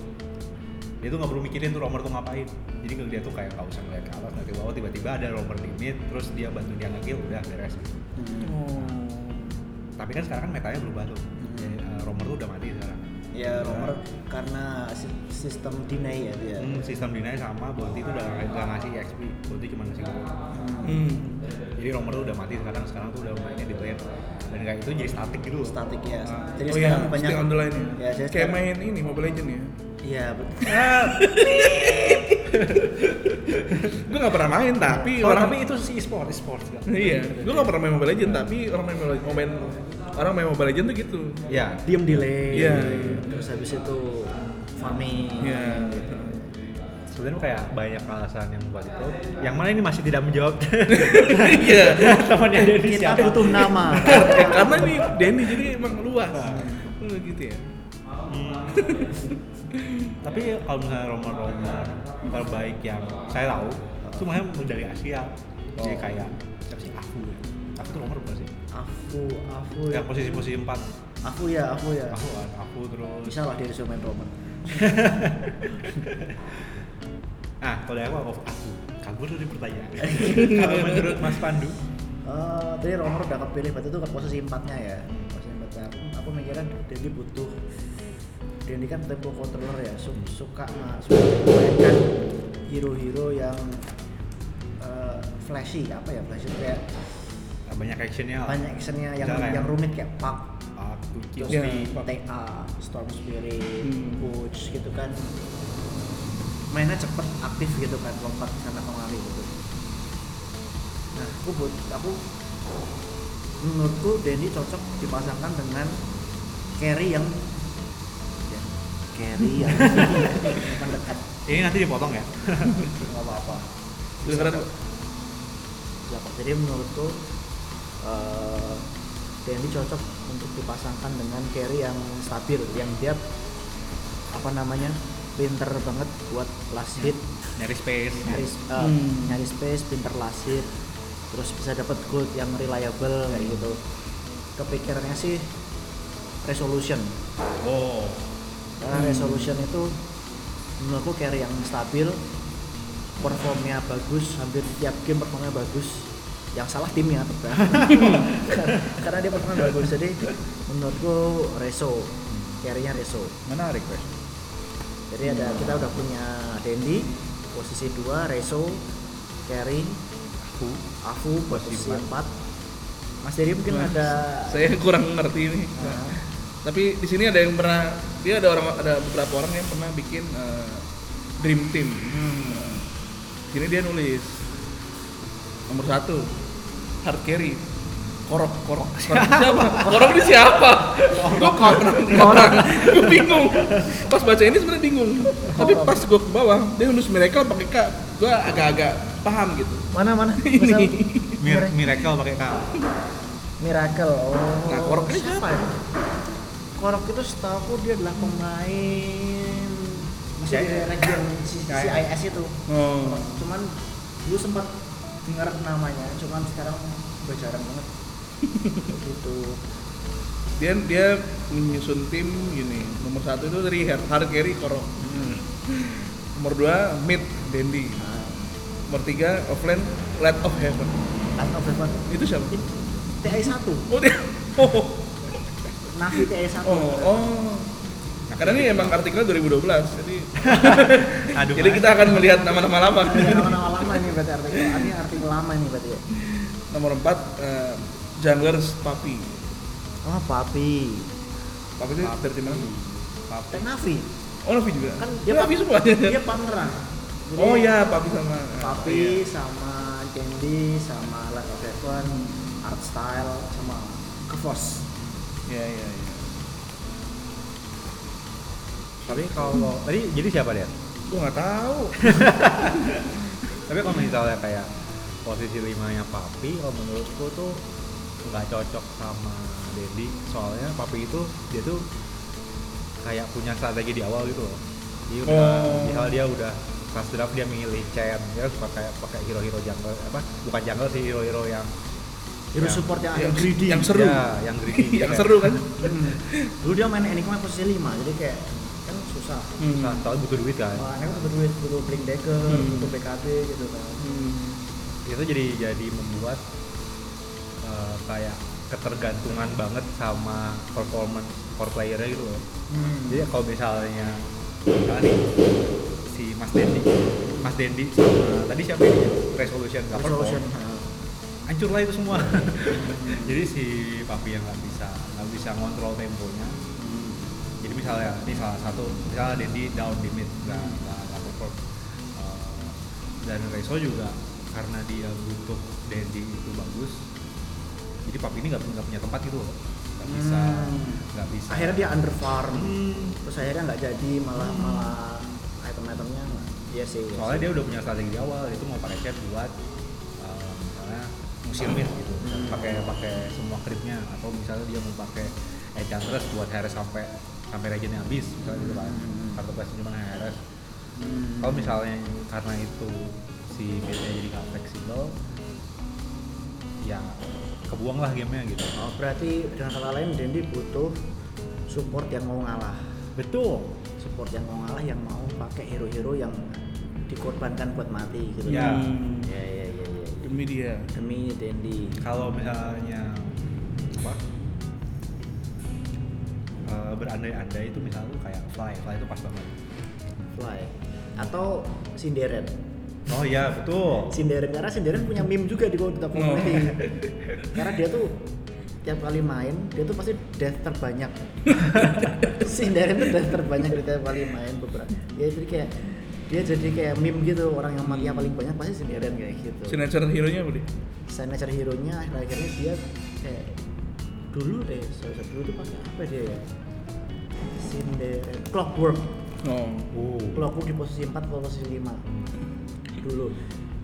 S4: dia tuh nggak perlu mikirin tuh romer tuh ngapain jadi kalau dia tuh kayak nggak usah ngeliat ke atas nanti bawah tiba-tiba ada romer di mid terus dia bantu dia ngekill udah beres gitu
S3: Hmm.
S2: Hmm.
S4: tapi kan sekarang kan metanya berubah tuh jadi, eh, romer tuh udah mati sekarang
S3: ya
S2: Hmm.
S3: nomor karena si- sistem deny ya dia
S4: Hmm, sistem dinanya sama Bonti itu udah nggak ngasih XP Bonti cuma ngasih gold
S2: hmm.
S4: jadi Romer tuh udah mati sekarang sekarang tuh udah mainnya di player dan kayak itu jadi statik gitu loh
S3: statik ya
S4: Ah.
S3: jadi
S2: oh iya,
S3: sekarang banyak
S2: stick on the line
S3: ya
S2: ya.
S3: jadi
S2: Kayak
S3: sekarang-
S2: main ini Mobile Legend ya.
S3: iya betul
S2: Gue gak pernah main tapi
S4: Oh,
S2: orang
S4: tapi itu si e-sport e-sport kan
S2: iya, gue gak pernah main Mobile Legend tapi orang main Mobile Legend, orang main Mobile Legend tuh gitu.
S4: ya
S3: diem delay
S2: Iya, iya.
S3: terus habis itu farming
S2: Iya.
S4: sebenarnya kayak banyak alasan yang buat itu yang mana ini masih tidak menjawab
S2: Iya.
S4: temannya dari
S3: kita
S4: siapa
S3: butuh nama
S2: Eh, karena ini Denny jadi emang luas.
S3: Nah.
S2: Oh, gitu ya.
S4: Hmm. tapi kalau misalnya Romer Romer terbaik yang saya tahu itu makanya dari Asia
S3: Ya,
S4: jadi kayak siapa sih aku ya aku tuh Romer bukan sih
S3: aku aku ya
S4: yang posisi posisi empat
S3: aku ya aku ya
S4: aku kan aku terus
S3: bisa lah dia disuruh main Roman
S4: ah kalau dari aku aku aku kabur dari pertanyaan kalau menurut Mas Pandu
S3: Eh, tadi Romer udah kepilih berarti itu ke posisi empatnya ya posisi empatnya aku, aku mikirnya Dendi butuh Dendi kan tempo controller ya su- suka ma- suka memainkan hero-hero yang eh, flashy apa ya flashy itu kayak
S4: Nah, banyak actionnya lah.
S3: banyak actionnya yang
S4: Misalnya.
S3: yang rumit kayak pak
S4: aku
S3: terus
S2: Ya.
S3: di TA Storm Spirit
S2: Hmm.
S3: Coach gitu kan mainnya cepet aktif gitu kan lompat ke sana kemari gitu nah aku buat aku menurutku Denny cocok dipasangkan dengan carry yang ya, carry yang yang dekat
S4: ini nanti dipotong ya
S3: nggak apa-apa
S2: Dengeran kok.
S3: Ya, Pak. jadi menurutku eh TNI cocok untuk dipasangkan dengan carry yang stabil, yang dia apa namanya pinter banget buat last hit,
S4: nyari space
S3: nyari eh,
S2: Hmm.
S3: nyari space, pinter last hit, terus bisa dapat gold yang reliable kayak gitu. Kepikirannya sih resolution,
S4: oh
S3: karena resolution itu menurut aku carry yang stabil performnya bagus hampir tiap game performanya bagus yang salah timnya karena, karena dia performanya bagus jadi menurutku Reso carry-nya Reso
S2: Menarik, Pres.
S3: jadi ada kita udah punya Dendi posisi 2 Reso carry
S4: aku
S3: Afu posisi
S4: Posisi
S3: 4 Mas Dery mungkin
S2: Wah,
S3: ada
S2: Saya kurang ngerti ini.
S3: Nah,
S2: Tapi di sini ada yang pernah dia ada orang ada beberapa orang yang pernah bikin eh, dream team. Eh, Sini dia nulis nomor satu hard carry korok korok korok siapa korok ini siapa gue pernah korok gue bingung pas baca ini sebenarnya bingung tapi pas gue ke bawah dia nulis miracle pakai k gue agak-agak paham gitu
S3: mana mana
S2: Ini.
S3: Masa-
S4: Mir Miracle pakai K.
S3: Miracle. Oh.
S2: Nah, Korok ini siapa ya?
S3: Korok itu setahu dia adalah pemain masih di
S4: CIS.
S3: region C-
S4: CIS.
S3: CIS itu.
S2: oh
S3: Cuman dulu sempat dengar namanya, cuman sekarang udah jarang banget. Kayak gitu.
S2: dia dia menyusun tim gini nomor satu itu dari Har- hard carry korok nomor dua mid dendi nomor tiga offline light of heaven
S3: Out of heaven.
S2: itu siapa
S3: TI 1,
S2: oh dia oh
S3: Navi TI 1.
S2: oh, oh. Nah, karena ini emang artikelnya 2012 jadi
S4: Aduh.
S2: jadi kita akan melihat nama-nama lama
S3: Nama-nama lama ini berarti artikel. Ini artikel lama nih berarti ya.
S2: nomor empat eh, junglers papi
S3: Oh, Papi.
S2: papi itu dari tim mana
S4: Papi.
S3: Teh Navi.
S2: oh Novi juga
S3: Kan
S2: dia
S3: dia
S2: papi semua
S3: Dia Tangerang. Jadi-
S2: oh ya papi sama iya.
S3: Papi
S4: Iya.
S3: sama Candy sama Light of Heaven, Art Style sama Kevos.
S2: ya ya ya
S4: Tapi kalau tadi jadi siapa dia?
S2: Gue nggak tahu.
S4: Tapi kalau misalnya
S2: Iya.
S4: kayak posisi limanya Papi, kalau menurutku tuh nggak cocok sama Dedi. Soalnya Papi itu dia tuh kayak punya strategi di awal gitu loh. Dia udah,
S2: Oh.
S4: di hal dia udah pas draft dia milih Chen, dia harus pakai pakai hero-hero jungle apa? Bukan jungle sih hero-hero yang
S3: Hero
S4: Ya.
S3: support yang Iya. ada
S2: Yang
S3: greedy.
S2: yang seru.
S4: Ya, yang greedy.
S2: yang seru kan?
S3: Hmm. Dulu dia main Enigma posisi 5, jadi kayak kan susah.
S2: Nah.
S4: Soalnya soalnya butuh duit kan.
S3: Wah, kan butuh duit, butuh Blink Dagger,
S2: Hmm.
S3: butuh PKB gitu kan.
S4: itu jadi jadi membuat eh, kayak ketergantungan banget sama performance core player-nya gitu loh.
S3: Hmm.
S4: Jadi kalau misalnya misalnya nih si Mas Dendi, Mas Dendi sama tadi siapa ini? Resolution nggak
S3: Resolution.
S4: perform, hancur lah itu semua. jadi si Papi yang nggak bisa nggak bisa ngontrol temponya. Jadi misalnya ini salah satu misalnya Dendi down di mid nah, nggak
S3: Hmm.
S4: nggak nggak perform. Eh, dan Reso juga karena dia butuh Dendi itu bagus. Jadi Papi ini nggak nggak punya tempat gitu loh. Nggak bisa
S3: Hmm.
S4: nggak bisa. Hmm.
S3: Akhirnya dia underfarm. Terus akhirnya nggak jadi malah malah item-itemnya nggak- Iya sih. iya
S4: soalnya
S3: sih.
S4: dia udah punya strategi di awal itu mau pakai chat buat eh, misalnya musimin gitu
S3: Hmm.
S4: pakai pakai semua creepnya atau misalnya dia mau pakai enchantress buat heres sampai sampai regennya habis misalnya gitu kan
S3: Hmm.
S4: kartu pasti cuma heres
S3: Hmm.
S4: kalau misalnya karena itu si bednya jadi nggak fleksibel ya kebuang lah gamenya gitu
S3: Oh, berarti dengan kata lain Dendi butuh support yang mau ngalah.
S4: betul
S3: Support yang mau ngalah yang mau pakai hero-hero yang dikorbankan buat mati gitu.
S4: Ya.
S3: Ya ya ya ya.
S2: Demi dia.
S3: Demi Dendi.
S4: kalau misalnya apa eh, berandai-andai itu misalnya tuh kayak fly fly itu pas banget
S3: Fly atau Sinderen.
S4: Oh iya betul.
S3: Sinderen karena Sinderen punya meme juga di kita community. karena dia tuh tiap kali main dia tuh pasti death terbanyak. Sinderen tuh death terbanyak di tiap kali main beberapa. Ya jadi kayak dia jadi kayak meme gitu orang yang matinya paling banyak pasti Sinderen kayak gitu.
S2: Signature hero-nya apa dia?
S3: signature hero nya akhirnya dia kayak dulu deh saya dulu tuh pakai apa dia ya Cinder clockwork
S2: Oh.
S4: Oh.
S3: clockwork di posisi 4 atau posisi 5 dulu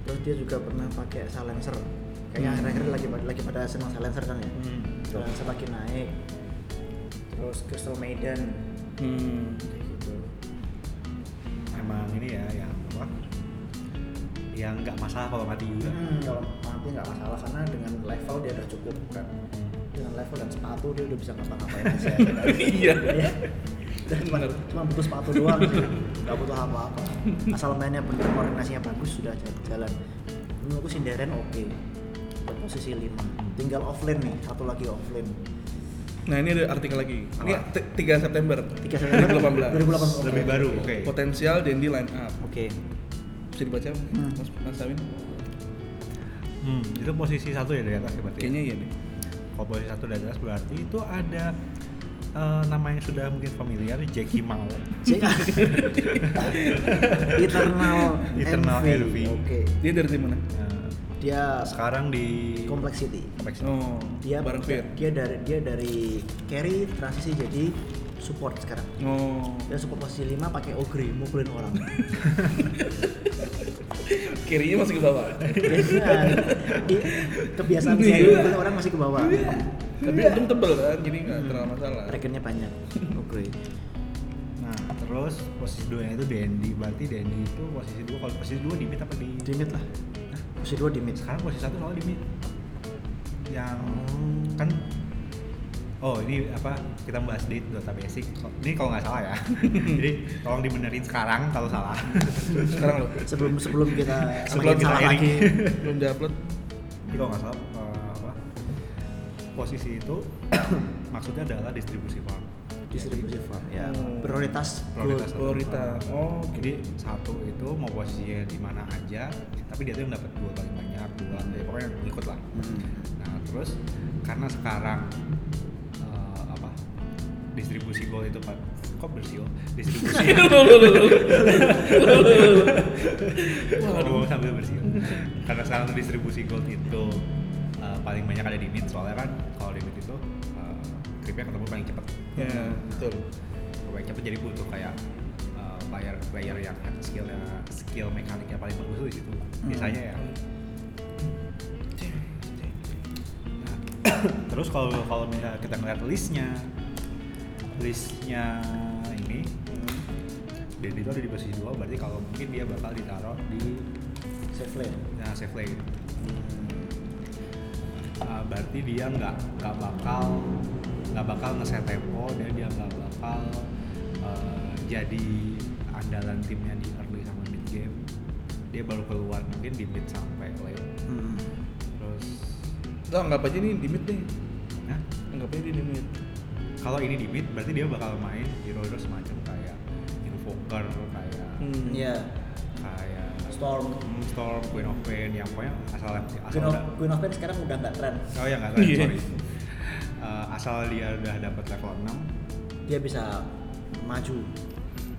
S3: terus dia juga pernah pakai silencer kayaknya
S2: Hmm.
S3: akhir-akhir lagi pada lagi pada senang silencer kan ya
S4: Hmm.
S3: silencer lagi naik terus crystal maiden
S2: Hmm.
S3: kayak gitu
S4: Emang ini ya yang apa? Yang nggak masalah kalau mati juga.
S3: hmm, kalau dia nggak masalah karena dengan level dia udah cukup kan dengan level dan sepatu dia udah bisa ngapa-ngapain aja
S2: Iya.
S3: Ya. Dan cuma,
S2: Bener.
S3: cuma butuh sepatu doang sih nggak butuh apa-apa asal mainnya bener koordinasinya bagus sudah j- jalan menurutku Sinderen oke Buat posisi 5 tinggal offline nih satu lagi offline
S2: Nah ini ada artikel lagi. Ini
S3: Apa?
S2: t- 3 September
S3: 3 September 2018
S4: Lebih baru, oke.
S2: Potensial Dendi line up.
S3: oke
S2: Bisa dibaca
S3: Hmm.
S2: Mas, Mas Awin?
S4: Hmm, itu posisi satu ya dari atas ya berarti.
S2: Kayaknya iya deh.
S4: Kalau posisi satu dari atas berarti itu ada eh, nama yang sudah mungkin familiar, Jackie Mao. Nah,
S3: Eternal,
S4: Eternal
S3: Eternal
S4: Envy.
S3: Oke.
S2: Dia dari tim mana?
S4: Nah,
S3: Dia
S4: sekarang di
S3: Complex City.
S4: Kompleks.
S2: Oh,
S3: Dia
S2: bareng Fir.
S3: Dia dari dia dari carry transisi jadi support sekarang.
S2: Oh,
S3: Dia support posisi 5 pakai ogre mukulin orang.
S2: kirinya masih ke bawah.
S3: Biasa. Di- kebiasaan
S2: Iya.
S3: sih mukulin orang masih ke bawah. Hmm.
S2: Tapi untung tebel kan, jadi nggak terlalu masalah.
S3: Rekennya banyak. Ogre.
S4: Nah, terus posisi duanya itu Dendi. Berarti Dendi itu posisi dua. Kalau posisi dua di mid apa di?
S3: Dimit lah. Posisi 2 dimit.
S4: Sekarang posisi satu soalnya di mid. Yang kan Oh ini apa kita bahas di Dota Basic. Ini kalau nggak salah ya. Jadi tolong dibenerin sekarang kalau salah.
S2: Sekarang lo,
S3: Sebelum sebelum kita semakin
S4: Sebelum kita
S3: salah
S4: ini.
S3: lagi.
S2: belum diupload.
S4: Ini kalau nggak salah eh, apa posisi itu maksudnya adalah distribusi farm.
S3: Distribusi farm ya.
S2: Hmm.
S3: Prioritas gold.
S4: prioritas
S2: Prioritas. Oh, oke.
S4: jadi satu itu mau posisinya di mana aja tapi dia tuh yang dapat dua paling banyak dua ya pokoknya ikut lah
S3: Hmm.
S4: nah terus karena sekarang eh, apa distribusi gol itu pak kok bersih oh? distribusi Ngomong sambil bersihin. Karena sekarang tuh distribusi gold itu uh, paling banyak ada di mid soalnya kan kalau di mid itu uh, creepnya ketemu paling cepet.
S2: Ya, betul.
S4: Kalau Paling cepet jadi butuh kayak uh, player player yang skill skill mekaniknya paling bagus tuh di situ. Biasanya ya. Nah, Terus kalau kalau misalnya kita ngeliat listnya, listnya ini dan itu ada di posisi dua berarti kalau mungkin dia bakal ditaruh di
S3: Safe lane.
S4: nah safe lane Uh, berarti dia nggak nggak bakal nggak bakal ngeset tempo dan dia nggak bakal uh, jadi andalan timnya di early sama mid game dia baru keluar mungkin di mid sampai late
S3: Hmm.
S4: terus
S2: Lo anggap aja ini dimit deh.
S4: nah
S2: Anggap aja ini dimit.
S4: kalau ini di mid berarti dia bakal main hero hero semacam kayak invoker kayak
S2: Hmm.
S3: Iya.
S4: kayak
S3: Storm.
S4: Hmm, storm queen of pain yang pokoknya asal asal
S3: Queen of,
S4: udah-
S3: Queen of Pain sekarang udah nggak tren.
S4: Oh ya nggak tahu,
S2: Iya.
S4: sorry. Eh, asal dia udah dapat level 6
S3: Dia bisa maju.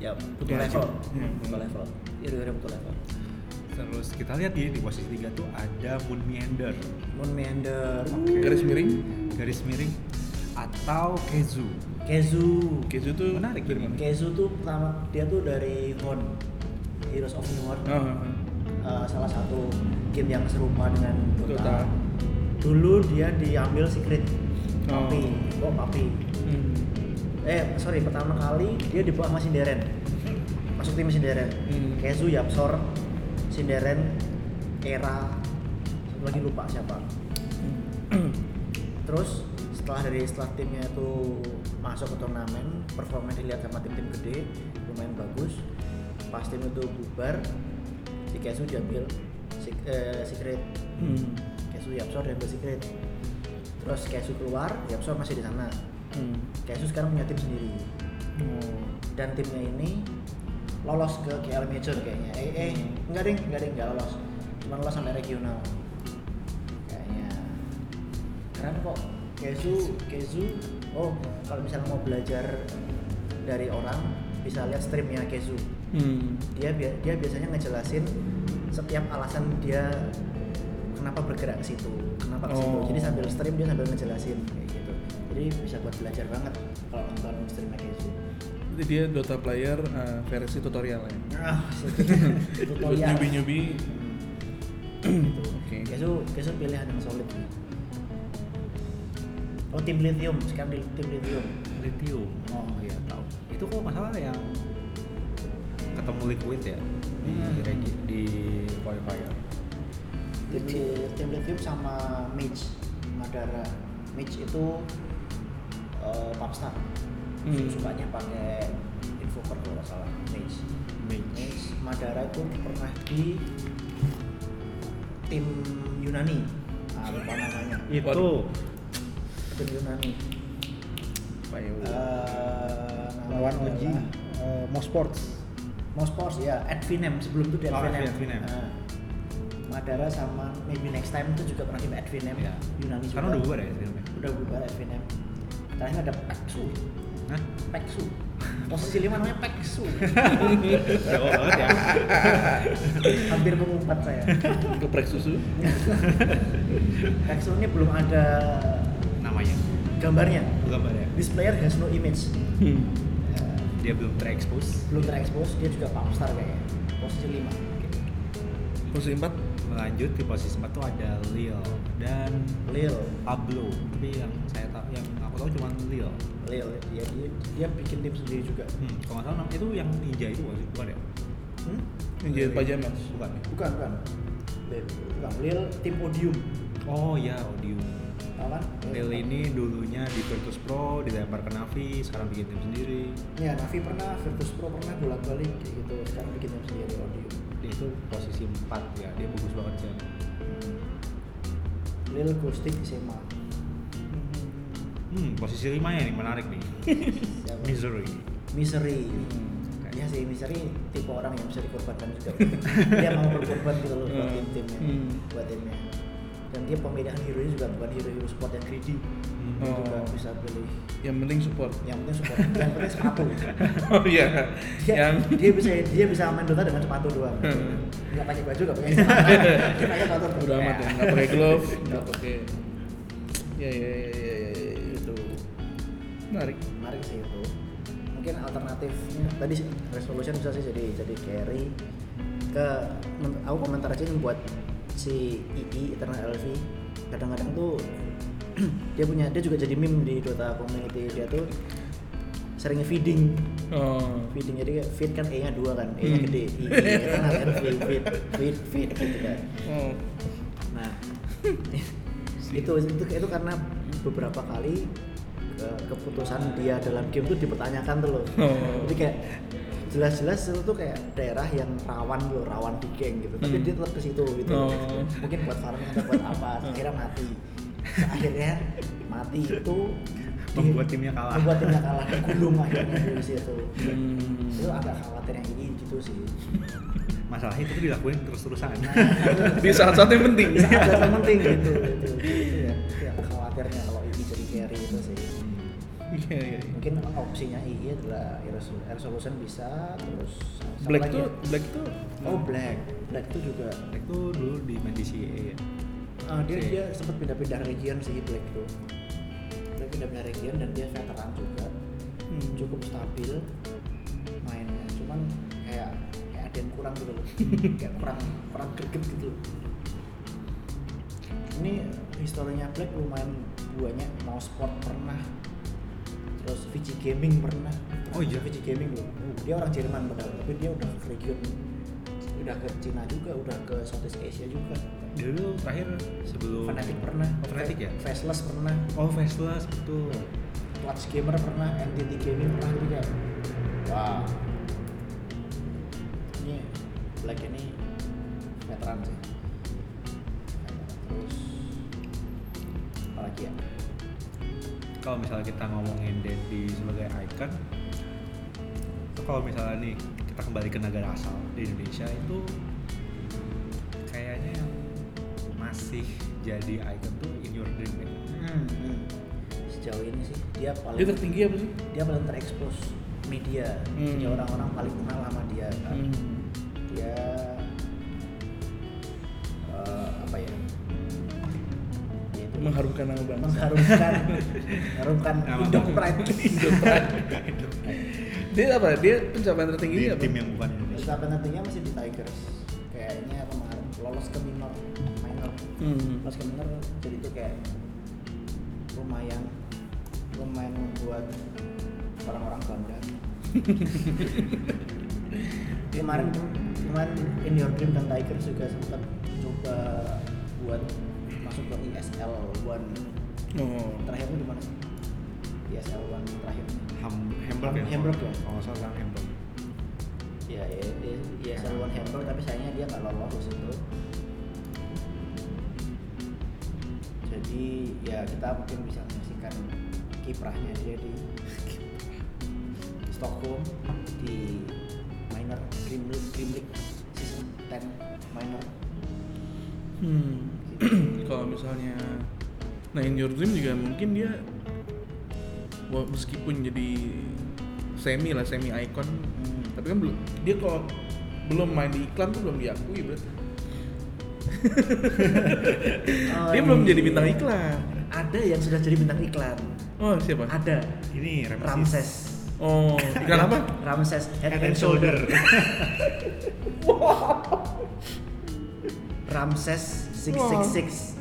S3: Ya butuh
S4: Iya,
S3: level.
S2: iya.
S3: Butuh level. Iya, iya butuh level.
S4: terus kita lihat di, di posisi 3 tuh ada Moon Meander
S3: Moon Meander,
S2: Garis miring.
S4: garis miring atau Kezu
S3: Kezu.
S2: Kezu tuh
S4: Menarik.
S2: dari mana?
S3: Kezu tuh pertama dia tuh dari Hon Heroes of New World.
S2: Ah, ah, ah.
S3: Eh, salah satu game yang serupa dengan
S2: Dota.
S3: Dota. Dulu dia diambil Secret
S2: Oh.
S3: Papi. Oh, Papi.
S2: Hmm.
S3: eh sorry pertama kali dia di bawah sama Sinderen masuk tim Sinderen
S2: Hmm.
S3: Kezu Yapsor Sinderen Era satu lagi lupa siapa terus setelah dari setelah timnya itu masuk ke turnamen performa dilihat sama tim-tim gede lumayan bagus pas tim itu bubar si Kezu diambil si, eh, Secret
S2: Hmm.
S3: Kezu Yapsor diambil Secret terus Kezu keluar Yapsor masih di sana
S2: Hmm.
S3: Kezu sekarang punya tim sendiri
S2: Oh.
S3: dan timnya ini lolos ke KL Major kayaknya eh eh enggak ding enggak ding enggak lolos cuma lolos sampai regional kayaknya keren kok Kezu Kezu oh kalau misalnya mau belajar dari orang bisa lihat streamnya Kezu
S2: Hmm.
S3: dia bia- dia biasanya ngejelasin setiap alasan dia kenapa bergerak ke situ kenapa ke situ
S2: Oh.
S3: jadi sambil stream dia sambil ngejelasin kayak gitu jadi bisa buat belajar banget kalau nonton gitu. streamnya Kezu
S2: Jadi dia Dota player eh, versi tutorial ya.
S3: Ah,
S2: Buat
S3: tutorial.
S2: newbie-newbie.
S3: Gitu.
S2: Oke.
S3: Kesu, kesu pilihan yang solid. Oh tim lithium, sekarang di tim lithium.
S4: Lithium
S3: Oh iya tahu.
S4: itu kok masalah yang ketemu Liquid ya di
S3: Hmm.
S4: regi- di qualifier
S3: tim li- tim lithium sama Mitch Madara Mitch itu eh, popstar
S2: Hmm.
S3: sukanya pakai invoker kalau nggak salah Mitch Mitch Madara itu pernah di tim Yunani Ah, lupa namanya
S4: Itu
S3: tim Yunani
S2: Payu.
S3: Eh,
S4: lawan
S3: namanya
S4: Oji
S3: adalah,
S4: eh, Mo Sports.
S3: Mospors ya, Advinem sebelum itu di
S4: Oh,
S3: Advinem.
S4: Advinem.
S3: Nah, Madara sama maybe next time itu juga pernah di Advinem
S4: Iya.
S3: Yunani juga.
S4: Karena udah bubar ya filmnya.
S3: Udah bubar Advinem. Terakhir ada Peksu,
S4: Hah?
S3: Peksu. Posisi lima namanya Peksu.
S4: Jauh banget ya.
S3: Hampir mengumpat saya.
S2: Geprek susu.
S3: Peksu ini belum ada
S4: Namanya.
S3: gambarnya.
S4: Gambarnya.
S3: This player has no image.
S2: Hmm.
S3: Eh,
S4: Dia belum terekspos.
S3: belum terekspos, dia juga popstar kayaknya. Posisi lima.
S2: Posisi empat.
S4: Melanjut di posisi 4 tuh ada Lil dan
S3: Lil,
S4: Pablo. Tapi yang saya tahu yang aku tahu cuma Lil.
S3: Lil, ya, dia, dia bikin tim sendiri juga.
S4: Hmm, kalau nggak salah nama- itu yang ninja itu bukan sih? Bukan ya?
S3: Hmm?
S2: Yang jahit pajama.
S4: Bukan ya?
S3: Bukan, bukan. Lil, bukan. Lil tim Odium.
S4: Oh ya, Odium.
S3: Tahu kan?
S4: Lil ini dulunya di Virtus Pro, dilempar ke Navi, sekarang bikin tim sendiri.
S3: Ya, Navi pernah, Virtus Pro pernah bolak-balik kayak gitu. Sekarang bikin yang sendiri Odium.
S4: Dia itu posisi 4 ya, dia bagus banget sih.
S3: Lil Ghostik di SMA.
S4: Hmm, posisi 5 ya nih menarik nih.
S3: Siapa?
S4: Misery.
S3: Ya,
S4: Hmm.
S3: Misery. Ya sih, Misery tipe orang yang bisa dikorbankan juga. dia mau berkorban gitu loh buat
S2: Hmm.
S3: tim-timnya,
S2: Hmm.
S3: buat timnya. Dan dia pemilihan hero juga bukan hero-hero sport yang greedy.
S4: Hmm.
S3: Dia
S2: Oh.
S3: juga bisa pilih
S2: Yang penting support.
S3: yang penting support, yang penting sepatu.
S2: Oh iya.
S3: dia,
S2: Yang
S3: dia bisa dia bisa main Dota dengan sepatu doang
S2: Hmm.
S3: nggak pakai baju nggak pakai sepatu dia pakai sepatu doang.
S2: udah amat ya. Nggak pakai glove. Nggak pakai. Ya ya ya ya ya. ya, Itu menarik.
S3: menarik sih itu mungkin alternatifnya tadi sih, resolution bisa sih jadi jadi carry ke men- aku komentar aja nih buat si II Eternal LV kadang-kadang tuh dia punya dia juga jadi meme di Dota community dia tuh sering feeding
S2: Oh.
S3: feeding jadi kayak feed kan E nya dua kan E nya
S2: Hmm.
S3: gede kan? II Eternal LV feed feed feed gitu kan
S2: Oh.
S3: Nah, itu itu itu karena beberapa kali ke- keputusan dia dalam game itu dipertanyakan tuh loh.
S2: Oh.
S3: Jadi kayak jelas-jelas itu tuh kayak daerah yang rawan loh, rawan di geng gitu. Tapi
S2: Hmm.
S3: dia tetap ke situ gitu.
S2: Oh.
S3: Mungkin buat farming atau buat apa, akhirnya mati. Akhirnya mati itu di-
S4: Membuat timnya kalah.
S3: Membuat timnya kalah, gulung akhirnya di situ.
S2: Hmm.
S3: Itu agak khawatir yang ini gitu sih.
S4: Masalahnya itu tuh dilakuin terus-terusan.
S2: Di saat-saat yang penting.
S3: Bisa aja yang penting gitu. Itu, itu, itu ya, itu yang khawatirnya kalau ini jadi carry itu sih.
S2: Iya iya. iya.
S3: Mungkin opsinya ini adalah Aerosol- Aerosolution bisa terus siapa
S2: Black
S3: lagi
S2: tuh,
S3: ya?
S2: Black tuh.
S3: Oh Black, Black itu juga
S4: itu dulu di main di CA ya.
S3: Ah, dia
S4: Oke.
S3: dia sempat pindah-pindah region sih Black tuh. Black pindah-pindah region dan dia veteran juga,
S2: Hmm.
S3: cukup stabil mainnya. Cuman kayak kayak ada yang kurang gitu loh, kayak kurang kurang greget gitu. loh. Ini historinya Black lumayan banyak. Mau sport pernah, terus VG Gaming pernah.
S4: Oh iya?
S3: VG Gaming loh. Dia orang Jerman padahal, tapi dia udah ke region, udah ke Cina juga, udah ke Southeast Asia juga.
S4: Dulu terakhir sebelum
S3: Fanatic pernah.
S4: Oh, Fnatic ya?
S3: Faceless pernah.
S4: Oh, Faceless betul.
S3: Watch Gamer pernah. NTT Gaming pernah juga. Wah. Ini Black ini veteran sih. Terus apa lagi ya?
S4: Kalau misalnya kita ngomongin Dendi sebagai icon, itu kalau misalnya nih kita kembali ke negara asal di Indonesia itu kayaknya yang masih jadi icon tuh in your dream ya.
S3: Hmm. Sejauh ini sih dia paling
S2: Dia tertinggi apa sih?
S3: dia paling terekspos media.
S2: Hmm.
S3: Jadi orang-orang paling kenal sama dia kan. dia eh, apa ya? Dia itu-
S2: Mengharumkan nama bangsa.
S3: mengharumkan mengharumkan
S4: Nama
S3: hidup
S4: bangsa.
S3: pride
S2: Dia apa? Dia pencapaian tertinggi
S4: Di
S2: dia apa?
S4: tim yang bukan Indonesia.
S3: Tapi pentingnya masih di Tigers kayaknya kemarin lolos ke minor minor
S2: Hmm.
S3: lolos ke minor jadi itu kayak lumayan lumayan membuat orang-orang bangga kemarin kemarin in your dream dan Tigers juga sempat coba buat masuk ke ISL One
S2: Oh.
S3: terakhirnya di mana sih? ISL One terakhir.
S4: Ham, Hamburg ya?
S3: Hamburg ya?
S4: Kalau nggak salah sekarang Hamburg.
S3: Ya, ya, di- ISL One Hamburg tapi sayangnya dia nggak lolos itu. Jadi ya kita mungkin bisa menyaksikan kiprahnya dia di Stockholm di minor Dream League, Dream League season 10 minor.
S2: Hmm. Kalau misalnya nah in your dream juga mungkin dia wa- meskipun jadi semi lah semi icon
S3: Hmm.
S2: tapi kan belum dia kalau belum main di iklan tuh belum diakui berarti dia belum jadi bintang iklan
S3: Ada yang sudah jadi bintang iklan.
S2: oh siapa
S3: Ada
S4: Ini Ramses.
S3: Ramses.
S2: oh iklan apa
S3: Ramses Head,
S1: Head and Shoulder.
S3: Ramses 666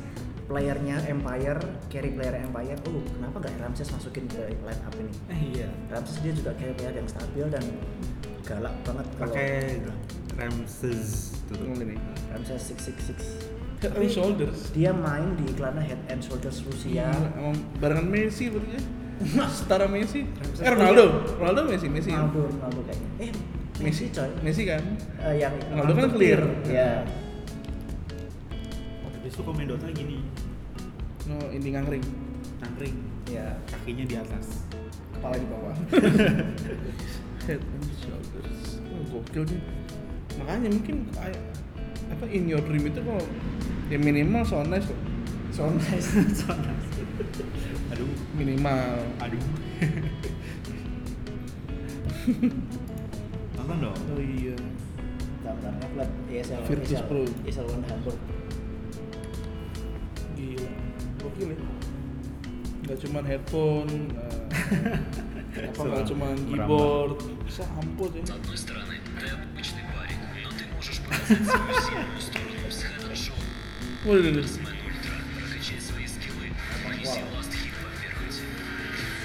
S3: playernya Empire, carry player Empire. Oh, kenapa nggak Ramses masukin ke line up ini?
S4: Eh iya.
S3: Ramses dia juga carry player yang stabil dan galak banget kalau
S4: Pakai Ramses gitu. tuh. tuh.
S2: Yang ini.
S3: Ramses 666.
S2: Head and Shoulders
S3: Dia main di iklannya Head and Shoulders Rusia.
S2: Gila, Iya, emang barengan Messi berarti ya? setara Messi eh Ronaldo Ronaldo Messi Messi
S3: Nah. Ronaldo, Ronaldo kayaknya. Eh, Messi coy.
S2: Messi kan
S3: Eh, yang
S2: Ronaldo kan
S3: Ronaldo
S2: clear.
S3: Ya.
S4: Besok komen Dota gini,
S2: no ini ngangring
S4: nangkring,
S3: Ya,
S4: kakinya di atas.
S3: kepala di bawah.
S2: head and shoulders oh, gokil dia makanya mungkin kayak apa in your dream itu kalau ya minimal so nice loh.
S3: Soalnya
S4: Aduh,
S2: minimal
S4: aduh. Nonton dong.
S2: oh iya
S3: gambarnya plat ESL
S2: Virtus
S3: ESL,
S2: Pro.
S3: ESL One Hamburg
S2: gila gokil ya nggak cuman headphone eh, apa nggak cuman
S4: Merambah.
S2: keyboard bisa ampun ya
S5: одной стороны, ты обычный парень, но ты можешь показать свою сильную сторону с Head and Shoulders.
S2: waduh
S5: Бэтсмен Ультра, прокачай свои скиллы, нанеси ласт хит по первенте.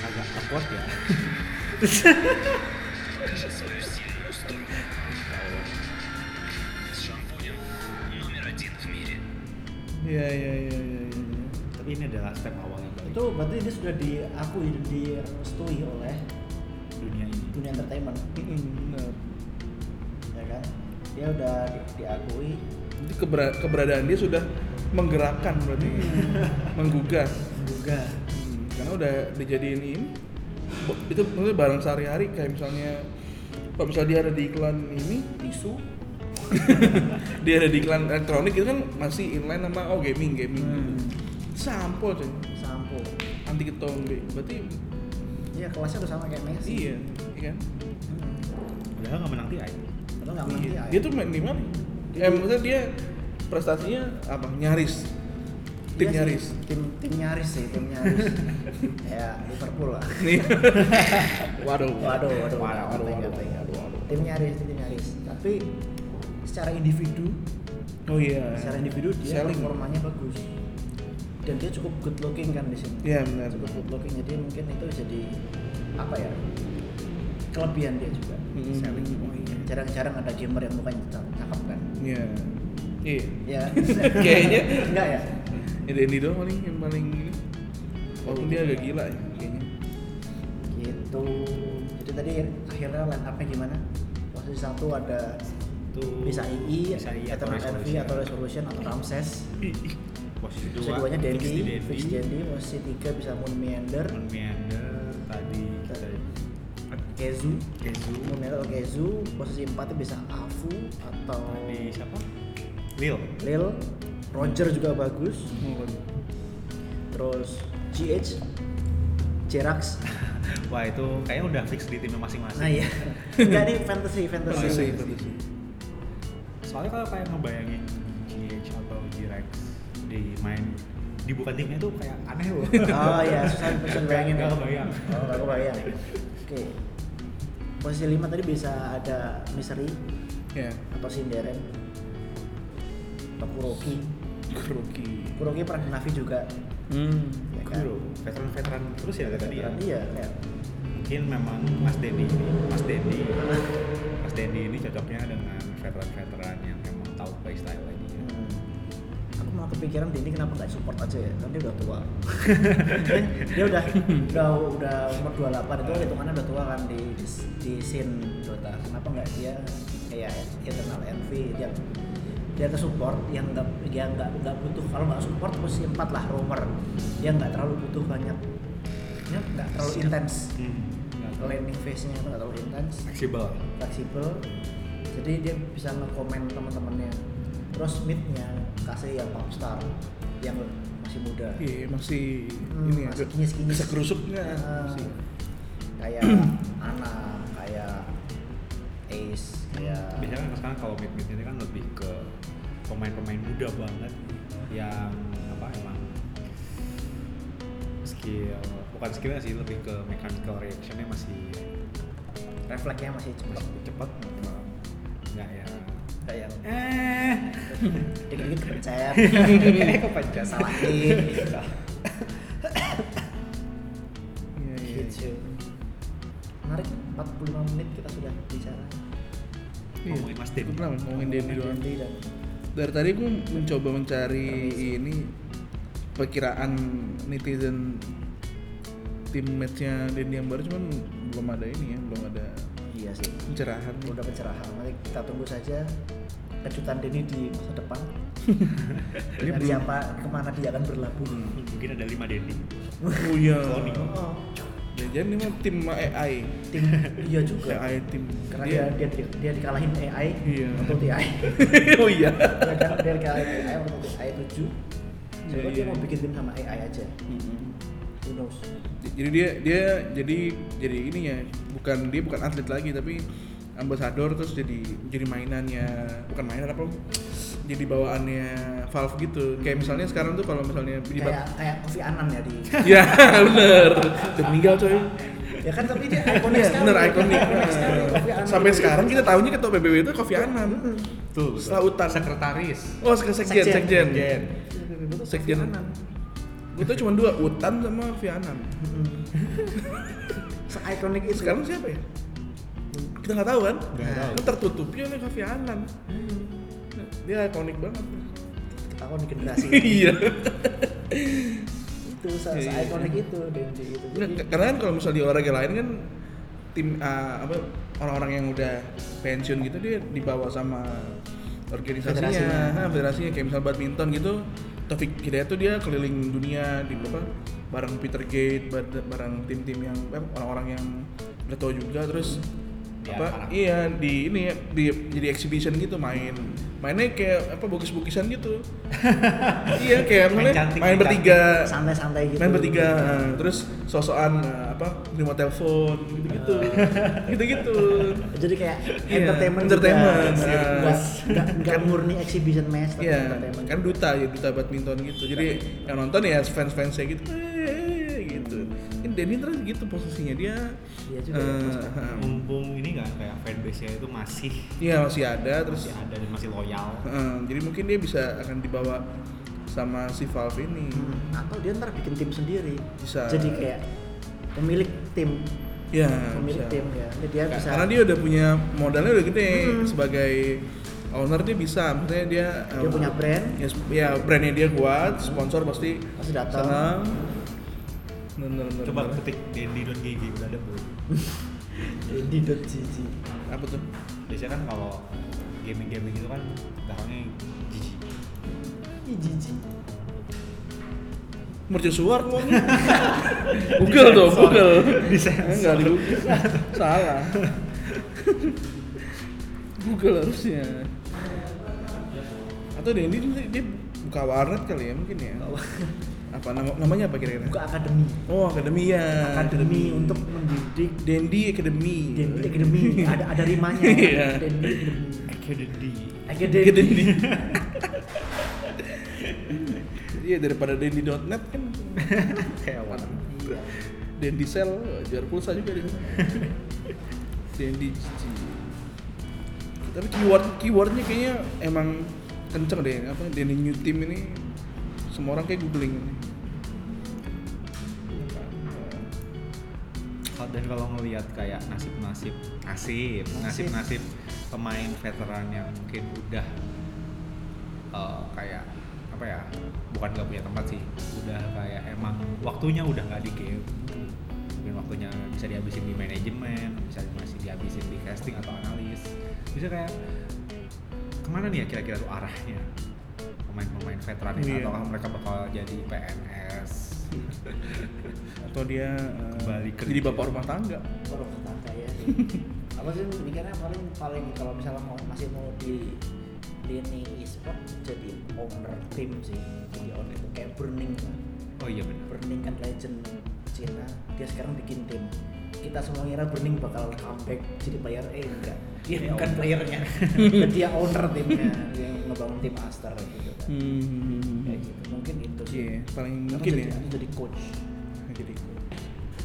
S4: Agak awkward ya.
S5: Покажи свою сильную сторону. С шампунем номер один в мире.
S2: iya iya iya iya iya.
S4: Tapi ini adalah step awal yang baik
S3: itu berarti dia sudah diakui dan direstui oleh
S4: dunia ini.
S3: dunia entertainment
S2: Mm-mm, benar
S3: ya kan dia udah di- diakui
S2: Jadi kebera- keberadaan dia sudah menggerakkan berarti menggugah
S3: juga
S2: Hmm, karena udah dijadiin ini bo- itu maksudnya barang sehari-hari kayak misalnya kalau misalnya dia ada di iklan ini
S3: tisu
S2: dia ada di iklan elektronik itu kan masih inline sama oh gaming gaming
S3: Hmm.
S2: sampo cuy
S3: sampo
S2: anti ketombe berarti
S3: iya kelasnya udah sama kayak Messi
S2: iya iya kan
S3: hmm.
S4: Padahal nggak menang TI.
S3: padahal nggak menang
S2: Iya.
S3: TI.
S2: dia tuh main di mana eh maksudnya dia prestasinya apa nyaris
S3: Iya
S2: tim
S3: sih,
S2: nyaris
S3: tim tim nyaris sih tim nyaris ya Liverpool lah
S2: nih waduh
S3: waduh waduh
S2: waduh waduh
S3: nggak penting, nggak
S2: waduh, waduh,
S3: penting.
S2: waduh.
S3: tim nyaris tim nyaris tapi secara individu
S2: oh iya
S3: secara individu dia
S2: Selling.
S3: performanya bagus dan dia cukup good looking kan di sini
S2: Iya, benar.
S3: cukup good looking jadi mungkin itu jadi apa ya kelebihan dia juga
S2: Mm-mm.
S3: selling
S2: Oh, iya.
S3: jarang-jarang ada gamer yang mukanya ca- cakep kan
S2: iya iya
S3: ya
S2: Kayaknya.
S3: enggak ya
S2: Ya Dendi doang paling yang paling ini. Walaupun dia agak gila ya kayaknya.
S3: gitu jadi tadi akhirnya line up-nya gimana posisi satu ada
S4: Itu
S3: bisa II,
S4: bisa II
S3: E atau NV
S4: Resolution.
S3: atau Resolution atau Ramses
S4: posisi
S3: posisi duanya
S4: fix di
S3: Dendi, Hmm.
S4: Dendi.
S3: fix Dendi, posisi tiga bisa Moon Meander,
S4: Moon Meander, tadi kita
S3: Kezu,
S4: Kezu,
S3: Moonlight atau Kezu posisi empatnya bisa Afu atau
S4: tadi siapa? Lil.
S3: Lil Roger juga bagus
S4: Oh,
S3: terus GH Jerax
S4: Nah, Wah itu kayaknya udah fix di timnya masing-masing.
S3: nah iya enggak nih fantasy fantasy,
S2: Fantasy, fantasy.
S4: Soalnya kalau kayak ngebayangin GH atau G-Rex di main di bukan timnya tuh kayak aneh loh.
S3: oh iya susah susah bayangin
S4: Nggak kebayang.
S3: oh nggak kebayang oke posisi lima tadi bisa ada Misery
S2: Ya,
S3: atau Sinderen atau Kuroki
S2: Kroki.
S3: Kuroki pernah di Navi juga
S2: Hmm.
S3: ya kan?
S4: Kuro, veteran-veteran terus ya tadi ya.
S3: Veteran, iya kayak
S4: Mungkin memang Mas Dendi ini, Mas Dendi, Mas ya. Dendi ini cocoknya dengan veteran-veteran yang memang tahu playstyle ini.
S3: Hmm. aku malah kepikiran Denny kenapa nggak support aja ya kan dia udah tua dia udah udah udah umur 28 itu hitungannya udah tua kan di di scene Dota kenapa nggak dia kayak internal envy dia dia ke support yang nggak dia nggak nggak butuh kalau nggak support posisi 4 lah romer dia nggak terlalu butuh banyak ya, nggak terlalu intens landing phase nya itu nggak terlalu intens
S4: fleksibel
S3: fleksibel jadi dia bisa nge-komen teman-temannya terus mid-nya kasih yang popstar yang masih muda
S2: Iya, masih
S3: Hmm,
S2: ini ya,
S3: masih kinyis-kinyis.
S2: bisa kerusupnya
S3: Ah,
S2: masih. Iya,
S3: kayak Ana kayak Ace kayak
S4: biasanya kan sekarang kalau mid mid ini kan lebih ke pemain-pemain muda banget yang apa emang skill bukan skillnya sih lebih ke mechanical reactionnya masih
S3: refleksnya masih cepat
S4: masih cepat nggak ya
S3: kayak
S4: eh
S3: dikit-dikit kepencet
S4: kepencet.
S3: salahin
S2: Iya, iya.
S3: gitu menarik 45 menit kita sudah bicara
S2: Iya.
S4: Ngomongin Mas Denny.
S2: Kenapa? Ngomongin Denny doang.
S3: Dendi dan
S2: Dari tadi gue mencoba mencari ini perkiraan netizen tim matchnya Denny yang baru cuman belum ada ini ya, belum ada
S3: iya sih
S2: pencerahan.
S3: udah pencerahan nanti kita tunggu saja kejutan Denny di masa depan dengan
S2: belum- Hmm.
S3: siapa kemana dia akan berlabuh
S4: mungkin ada lima Denny
S2: Oh iya.
S4: Cloning.
S3: oh,
S2: Jangan ini mah tim AI,
S3: tim iya juga
S2: AI tim.
S3: karena dia
S2: Dia-
S3: dia, di- dia dikalahin AI
S2: Ya, Iya.
S3: untuk AI
S2: oh iya.
S3: dia, dia dikalahin AI untuk AI 7 coba
S2: Iya, iya. Hmm.
S3: dia mau bikin tim sama AI aja who knows
S2: Jadi dia dia jadi jadi ini ya bukan dia bukan atlet lagi tapi ambasador terus jadi jadi mainannya bukan mainan apa jadi bawaannya Valve gitu kayak misalnya sekarang tuh kalau misalnya di
S3: kayak kayak Kofi Annan ya di
S2: ya bener udah meninggal coy
S3: ya kan tapi dia ikonik
S2: Iya,
S3: sekali
S2: bener ikonik
S3: sekali, Kofi Annan.
S2: sampai sekarang kita tahunya ketua PBB itu Kofi Annan
S4: tuh
S2: Selautan.
S4: sekretaris
S2: oh sekarang sekjen sekjen
S4: Sekjen.
S2: sekjen gue tuh cuma dua Utan sama Kofi Annan
S3: se-ikonik itu
S2: Hmm. sekarang siapa ya kita nggak tahu kan
S4: Gitu. Nggak tahu.
S2: Kan tertutupnya oleh Kofi Annan dia ikonik banget
S3: ketahuan di generasi
S2: iya
S3: itu se- se-ikonik
S2: iya.
S3: itu Denji itu jadi
S2: Nggak, karena kan kalau misalnya di olahraga lain kan tim ah, apa orang-orang yang udah pensiun gitu dia dibawa sama organisasinya
S3: Federasinya.
S2: federasinya, nah, federasinya. kayak misal badminton gitu Taufik Hidayat tuh dia keliling dunia di apa bareng Peter Gate bar- bareng tim-tim yang eh, orang-orang yang udah tua juga terus
S4: Ya,
S2: apa
S4: anak.
S2: iya di ini ya, di jadi exhibition gitu main mainnya kayak apa bokis-bokisan gitu iya kayak
S4: Main
S2: main,
S4: cantik,
S2: main
S4: main
S2: bertiga
S3: santai-santai gitu
S2: main bertiga eh, terus sosokan eh, apa terima telepon gitu gitu gitu gitu
S3: jadi kayak
S2: Iya,
S3: entertainment
S2: entertainment.
S3: juga.
S2: Nah.
S3: Nggak- nggak nggak murni exhibition match tapi
S2: iya
S3: entertainment
S2: kan duta ya duta badminton gitu jadi yang nonton ya fans fansnya gitu "Eh," gitu ini Denny terus gitu posisinya dia
S3: Iya juga ya,
S2: eh,
S3: Mas.
S2: eh,
S4: mumpung ini nggak kayak fanbase nya itu masih
S2: iya masih ada terus
S4: masih ada dan masih loyal
S2: eh, jadi mungkin dia bisa akan dibawa sama si Valve ini
S3: Hmm, atau dia ntar bikin tim sendiri
S2: Bisa.
S3: jadi kayak pemilik tim
S2: ya
S3: pemilik
S2: bisa.
S3: tim ya Jadi dia
S2: Ka-
S3: bisa Hmm.
S2: karena dia udah punya modalnya udah gede sebagai owner dia bisa maksudnya dia
S3: Dia
S2: eh,
S3: punya brand.
S2: ya, sp- ya, brandnya dia kuat sponsor pasti
S3: Pasti datang.
S2: senang. Bener, bener, bener.
S4: coba ketik dendy.gg udah ada belum
S3: di dot gg
S2: apa tuh
S4: biasanya kan kalau gaming-gaming itu kan belakangnya GG
S3: Ih, gg
S2: Iya. mercusuar ngomongnya Google dong Google enggak di Google salah Google harusnya atau Dendi dia, dia buka warnet kali ya mungkin ya
S4: Oh.
S2: apa nama- namanya apa kira-kira
S3: buka akademi
S2: Oh, akademi ya.
S3: akademi untuk mendidik
S2: Dendi Academy.
S3: Dendi Academy ada ada rimanya
S2: Iya.
S3: Dendi Academy
S4: Academy
S3: Academy
S2: Academy. Iya daripada Dendi.net kan.
S4: hewan
S3: Iya.
S2: Dendi Sel jual pulsa juga di sana. Dendi GG. Tapi keyword keywordnya kayaknya emang kenceng deh apa Dendi New Team ini semua orang kayak googling ini.
S4: Kalau- dan kalau ngelihat kayak nasib-nasib nasib nasib-nasib pemain veteran yang mungkin udah eh, kayak apa apa ya bukan nggak punya tempat sih udah kayak emang waktunya udah nggak di game mungkin waktunya bisa dihabisin di manajemen bisa masih dihabisin di casting atau analis bisa kayak kemana nih ya kira-kira tuh arahnya pemain-pemain veteran ini
S2: Iya.
S4: ataukah mereka bakal jadi PNS
S2: atau dia eh,
S4: Kembali kerja.
S2: jadi bapak rumah tangga
S3: Baru tetangga ya. Apa sih mikirnya paling paling kalau misalnya mau masih mau di lini e-sport jadi owner tim sih. Jadi owner itu kayak burning.
S4: oh iya benar
S3: Burning kan legend Cina. Dia sekarang bikin tim. Kita semua ngira Burning bakal comeback jadi player A enggak. Dia
S2: Iya,
S4: Dia
S3: bukan
S4: owner.
S3: playernya. dia owner timnya. Dia ngebangun tim Aster gitu kan. Kayak
S2: hmm.
S3: gitu. Mungkin itu sih.
S2: Iya, paling
S3: Atau
S2: mungkin
S3: jadi,
S2: ya.
S3: atau jadi coach.
S2: jadi Gitu.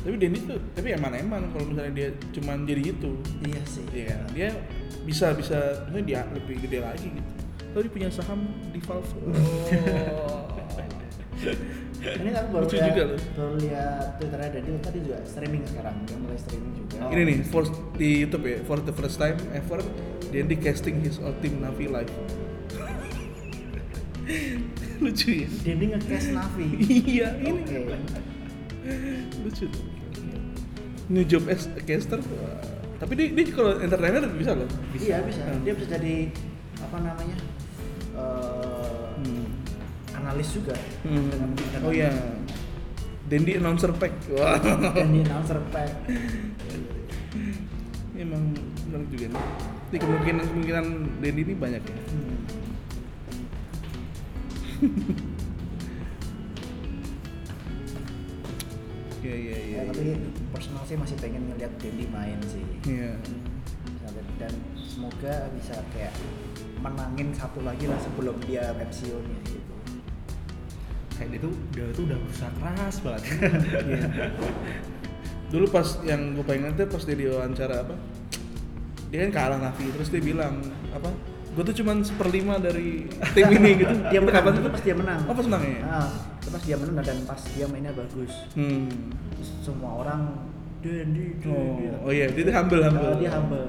S2: tapi Denny tuh tapi eman eman kalau misalnya dia cuman jadi itu
S3: Iya sih.
S2: iya kan? dia bisa bisa ini dia lebih gede lagi gitu tapi dia punya saham di Valve
S3: Oh. Ini aku baru
S2: Lucu
S3: lihat,
S2: juga loh.
S3: baru lihat Twitternya Daniel tadi juga streaming sekarang, dia mulai streaming juga.
S2: Oh. ini nih for di YouTube ya for the first time ever Denny casting his own team Navi live lucu ya
S3: Denny nge-cast Navi.
S2: iya ini
S3: Oke.
S2: lucu tuh new job as a caster wah. tapi dia, dia kalau entertainer bisa loh
S3: Iya bisa.
S2: Hmm.
S3: Dia bisa jadi apa namanya? eh,
S2: Hmm.
S3: analis juga.
S2: Hmm.
S3: Dengan- dengan-
S2: Oh iya. Dendi announcer pack. Wah.
S3: Denny announcer pack.
S2: Emang menarik juga nih. Jadi kemungkinan kemungkinan Dendi ini banyak ya.
S3: Hmm.
S2: Iya iya iya.
S3: Ya, tapi personal sih masih pengen ngeliat Denny main sih.
S2: Iya.
S3: Dan semoga bisa kayak menangin satu lagi lah sebelum dia pensiun gitu.
S4: kayak dia tuh dia tuh udah berusaha keras banget
S2: Iya. Dulu pas yang gue pengen tuh pas dia diwawancara apa? Dia kan kalah Navi terus dia bilang apa? Gue tuh cuman seperlima dari tim ini gitu.
S3: dia menang
S2: Kapan
S3: pas dia menang
S2: Oh pas menang ya.
S3: Ah, pas dia menang dan pas dia mainnya bagus
S2: Hmm.
S3: Terus semua orang Dendi Dendi
S2: Oh, oh iya, dia tuh humble, humble.
S3: Ah, dia humble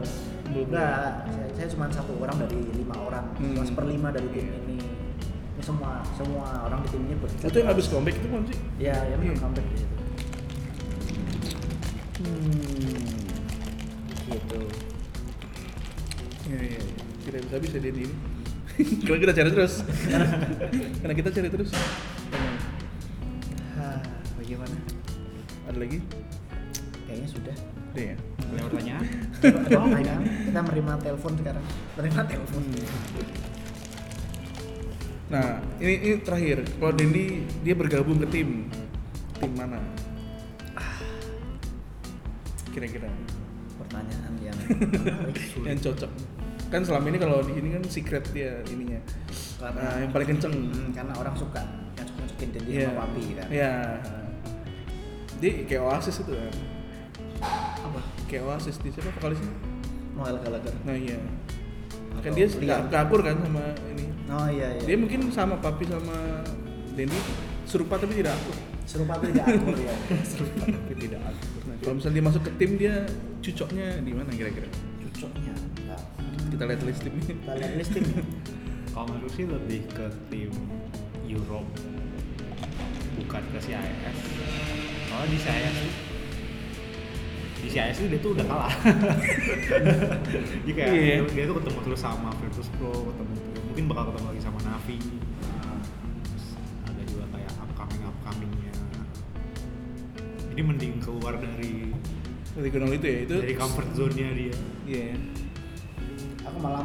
S2: Humble.
S3: enggak saya, saya cuma satu orang dari lima orang
S2: Hmm.
S3: cuma seperlima dari tim
S2: Iya.
S3: ini Ya, semua semua orang di tim ini bekerja
S2: Itu
S3: keras.
S2: yang habis comeback itu kan sih?
S3: ya ya menang
S2: Iya.
S3: comeback di situ
S2: Hmm.
S3: gitu
S2: Iya, iya, iya. Tidak bisa bisa dia ini. Karena kita cari terus. Karena kita cari terus. Emang.
S3: Hah, bagaimana
S2: Ada lagi?
S3: kayaknya sudah
S2: Ada ya?
S4: ada pertanyaan
S3: oh, kan? kita menerima telepon sekarang menerima telepon
S2: Nah, ini, ini terakhir. Kalau Dendi dia bergabung ke tim, tim mana? Kira-kira
S3: pertanyaan yang menarik
S2: yang cocok. Kan selama ini kalau di sini kan secret dia ininya.
S3: Karena-
S2: Nah, yang paling kenceng.
S3: Hmm, karena orang suka yang suka masukin dendam
S2: Iya.
S3: sama papi kan
S2: Iya. Dia kayak oasis itu kan.
S3: apa
S2: Kayak oasis di siapa vokalisnya?
S3: Noel Gallagher
S2: Nah iya. Kan
S3: Atau
S2: dia
S3: Liam.
S2: nggak kabur kan sama ini.
S3: oh iya iya
S2: Dia mungkin sama papi sama Denny serupa tapi tidak akur.
S3: serupa tuh tidak akur ya serupa
S4: tapi tidak ada
S2: Nah, kalau misalnya dia masuk ke tim dia cucoknya di mana kira-kira?
S3: cocoknya Nah,
S2: Kita lihat list timnya.
S3: kita lihat listing
S4: kalau menurut sih lebih ke tim Europe bukan ke CIS kalau di CIS tuh- di CIS tuh dia tuh udah kalah jadi kayak
S2: Iya.
S4: dia, dia tuh ketemu terus sama Virtus Pro ketemu terus- mungkin bakal ketemu lagi sama Navi Terus ada juga kayak upcoming upcomingnya jadi mending keluar dari
S2: Regional itu ya itu.
S4: dari comfort zone-nya dia
S2: Iya.
S3: aku malah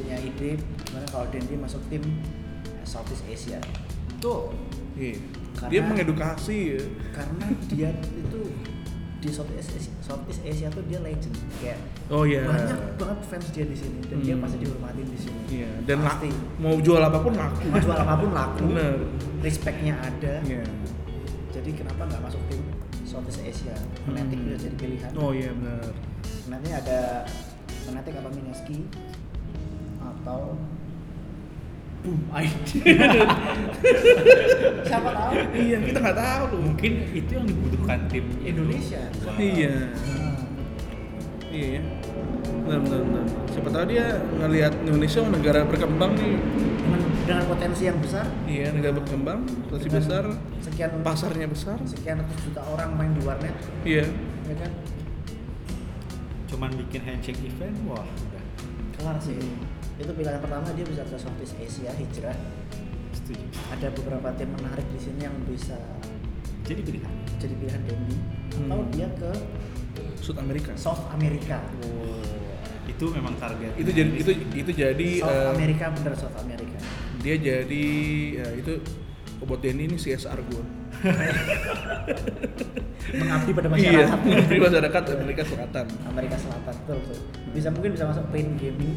S3: punya ide gimana kalau Dendi masuk tim eh, Southeast Asia
S4: tuh
S2: Iya.
S3: Karena-
S2: Dia mengedukasi ya.
S3: karena dia itu di Southeast Asia, Southeast Asia tuh dia legend kayak
S2: Oh iya.
S3: banyak banget fans dia di sini dan dia
S2: Hmm.
S3: pasti dihormatin di sini
S2: Iya, dan la-
S3: pasti
S2: mau jual apapun laku.
S3: mau jual apapun laku
S2: Bener.
S3: respectnya ada
S2: Iya.
S3: jadi kenapa nggak masuk tim Southeast Asia Fnatic
S2: Hmm.
S3: bisa jadi pilihan
S2: Oh iya benar.
S3: nanti ada Fnatic apa Mineski atau Boom ID siapa tahu
S2: Iya, kita nggak tahu loh.
S4: mungkin itu yang dibutuhkan tim
S3: Indonesia
S4: Wow.
S2: Iya.
S3: Hmm.
S2: Iya ya. Benar, benar, benar. Siapa tahu dia ngelihat Indonesia oh, negara berkembang nih.
S3: Cuman dengan potensi yang besar
S2: Iya, negara berkembang, potensi
S3: dengan
S2: besar,
S3: sekian
S2: pasarnya besar.
S3: sekian ratus juta orang main di warnet
S2: Iya.
S3: ya kan
S4: cuman bikin handshake event wah udah
S3: kelar sih
S2: Hmm.
S3: itu pilihan pertama dia bisa ke Southeast Asia hijrah
S4: setuju
S3: ada beberapa tim menarik di sini yang bisa
S4: jadi pilihan
S3: jadi pilihan Denny atau
S2: Hmm.
S3: dia ke
S2: Sud Amerika.
S3: South America
S4: itu memang target
S2: Itu jadi itu itu jadi
S3: South
S2: eh,
S3: America bener South America
S2: dia jadi ya, itu obat Denny ini CSR gue.
S3: mengabdi pada
S2: Iya,
S3: masyarakat
S2: di masyarakat Amerika Selatan.
S3: Amerika Selatan betul, betul. bisa mungkin bisa masuk paint gaming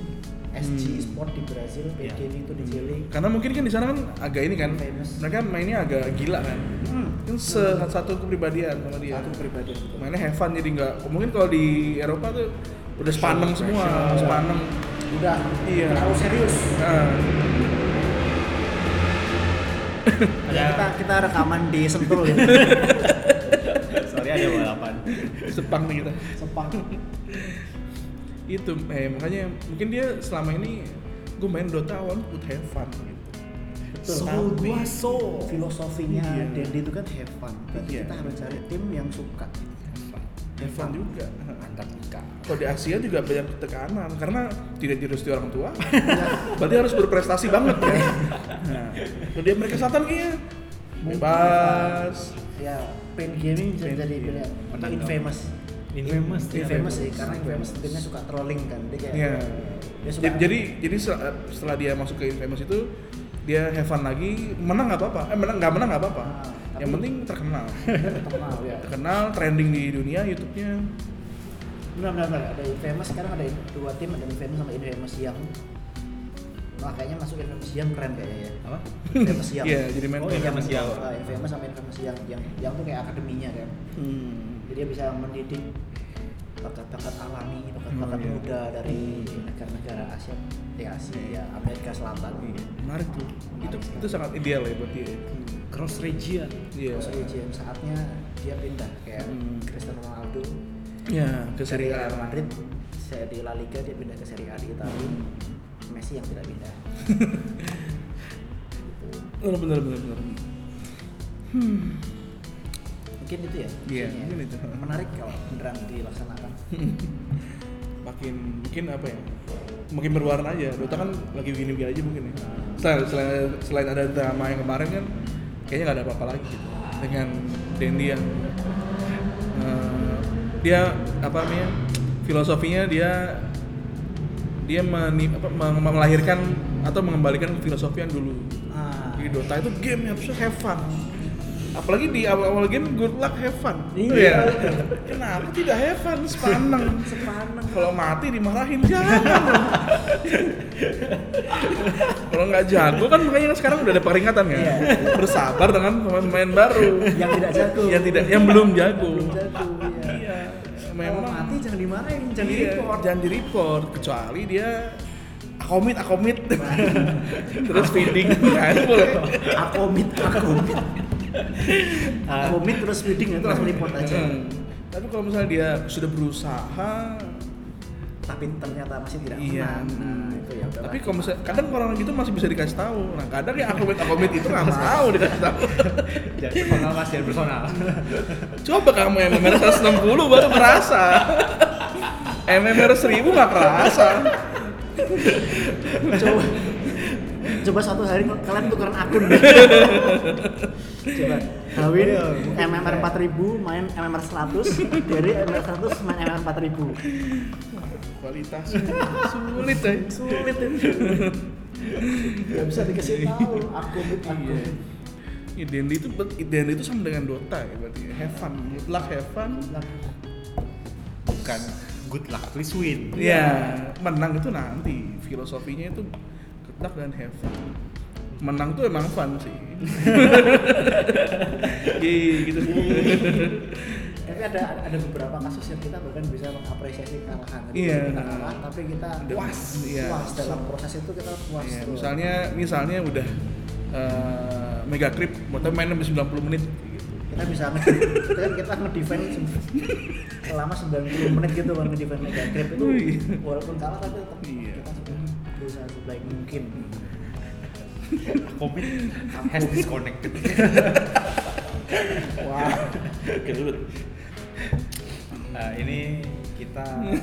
S3: SG
S2: Hmm.
S3: Sport di Brazil paint
S4: Iya.
S3: gaming itu di Chile
S2: Karena mungkin kan di sana kan agak ini kan,
S3: Famous.
S2: mereka mainnya agak gila kan. Kan se- satu kepribadian sama dia.
S3: Iya. satu kepribadian betul.
S2: Mainnya have fun jadi nggak. Mungkin kalau di Eropa tuh udah sepaneng semua,
S3: Professional.
S2: sepaneng.
S3: udah
S2: Iya.
S3: terlalu serius
S2: Nah, Iya.
S3: Ada kita kita rekaman di Sentul ya
S4: soalnya ada balapan
S2: sepang nih kita.
S3: Sepang
S2: Itu, eh makanya mungkin dia selama ini gue main Dota awal would have fun gitu.
S3: betul
S2: So
S3: tapi
S2: gua so.
S3: filosofinya
S2: Iya.
S3: Dendi itu kan have fun berarti
S2: Iya.
S3: kita harus cari tim yang suka
S2: Have fun juga.
S4: antar nikah
S2: Kalau di Asia juga banyak tekanan karena tidak direstui orang tua.
S3: Iya.
S2: Berarti harus berprestasi banget ya. Nah, kalau di Amerika Selatan iya. kayaknya bebas.
S3: ya paint gaming bisa
S2: Paint
S3: jadi
S2: gaming.
S3: pilihan
S4: Menang dong.
S3: infamous
S4: Infamous,
S3: infamous sih karena infamous timnya suka trolling kan dia kayak
S2: Iya.
S4: Ya,
S3: dia suka
S2: Jadi, jadi jadi se- setelah dia masuk ke Infamous itu dia have fun lagi, menang nggak apa-apa. Eh menang nggak menang nggak apa-apa.
S3: Ah, tapi-
S2: Yang penting terkenal.
S3: dia terkenal
S4: Iya.
S3: ya
S2: terkenal, trending di dunia YouTube-nya.
S3: benar benar benar. ada infamous sekarang ada dua tim ada infamous sama infamous yang makanya masuk infamous yang keren kayaknya ya
S4: apa
S3: infamous yang
S2: Iya, jadi mentor.
S4: Oh, Infamous Young.
S3: Ah, infamous sama infamous yang yang yang tuh kayak akademinya kan
S2: Hmm.
S3: jadi dia bisa mendidik bakat-bakat alami, bakat-bakat
S2: Hmm, iya.
S3: muda dari negara-negara Asia, ya Asia, ya Amerika Selatan.
S2: Iya, menarik tuh. Itu itu sangat ideal ya buat dia.
S4: cross region
S2: Iya.
S3: Terus dia GM saatnya dia pindah kayak
S2: Hmm.
S3: Cristiano Ronaldo
S2: Ya, ke
S3: dari
S2: Serie A.
S3: Real Madrid, saya di La Liga dia pindah ke Serie A di Italia.
S2: Hmm.
S3: Messi yang tidak pindah.
S2: Benar benar benar benar.
S3: Mungkin itu ya.
S2: Iya,
S3: kuncinya.
S2: mungkin itu.
S3: Menarik kalau beneran dilaksanakan.
S2: Makin mungkin apa ya? Makin berwarna aja. Dota kan lagi begini-begini aja mungkin ya. Selain, selain, selain ada drama yang kemarin kan kayaknya nggak ada apa-apa lagi gitu. Dengan Dendi yang eh, dia apa namanya? Filosofinya dia dia meni, apa, meng- melahirkan atau mengembalikan filosofi yang dulu.
S3: Ah,
S2: Di Dota itu game yang harus have fun. Apalagi di awal-awal game good luck have fun.
S3: Iya.
S2: Kenapa tidak have fun? Sepaneng.
S3: sepaneng.
S2: Kalau mati dimarahin jangan. Kalau nggak jago kan makanya kan sekarang udah ada peringatan kan.
S3: Iya.
S2: Bersabar dengan pemain-pemain baru
S3: Yang tidak jago.
S2: yang tidak yang belum jago.
S3: belum jago. Iya.
S2: Iya.
S3: Memang
S2: Memang Iya.
S3: mati jangan dimarahin, jangan
S2: jangan
S3: di report.
S2: Jangan di report kecuali dia akomit akomit terus feeding kan boleh
S3: akomit akomit akomit terus feeding itu langsung report aja
S2: Ah. Hmm. Tapi kalau misalnya dia sudah berusaha,
S3: tapi ternyata masih tidak
S2: iya.
S3: menang nah
S2: hmm.
S3: itu ya udahlah.
S2: Tapi kalau misalnya kadang orang gitu masih bisa dikasih tahu. Nah kadang ya akomit akomit itu nggak mau dikasih tahu.
S4: jadi personal mas jadi personal
S2: Coba kamu MMR 160 baru merasa. MMR 1000 nggak kerasa.
S3: coba coba satu hari kalian tukeran akun coba Hawin
S2: Iya.
S3: MMR 4000 main MMR 100 dari MMR 100 main MMR 4000
S2: Kualitas sulit ya.
S3: sulit itu nggak bisa dikasih tahu akomit akomit
S2: Identity itu identity itu sama dengan Dota ya berarti. Have fun, mutlak have fun.
S4: bukan good luck please win
S2: Ya, menang itu nanti. Filosofinya itu ketak dan have fun. Menang tuh emang fun sih. Yeay gitu.
S3: tapi ada ada beberapa kasus yang kita bahkan bisa mengapresiasi kekalahan Jadi
S2: Iya.
S3: kita kalah tapi kita
S2: Puas, iya.
S3: puas dalam proses itu kita puas
S2: Ya,
S3: tuh.
S2: misalnya misalnya udah eh, mega creep, mau tapi mainnya sampai 90 menit gitu.
S3: kita bisa nge- kita kan kita ngedefend se- selama 90 menit gitu kan ngedefend mega grip itu
S2: Wih.
S3: walaupun kalah tapi tetap
S2: Iya.
S3: kita sudah berusaha sebaik mungkin
S4: Covid has disconnected.
S3: Wah.
S4: Gelut. Nah, ini kita
S2: Ini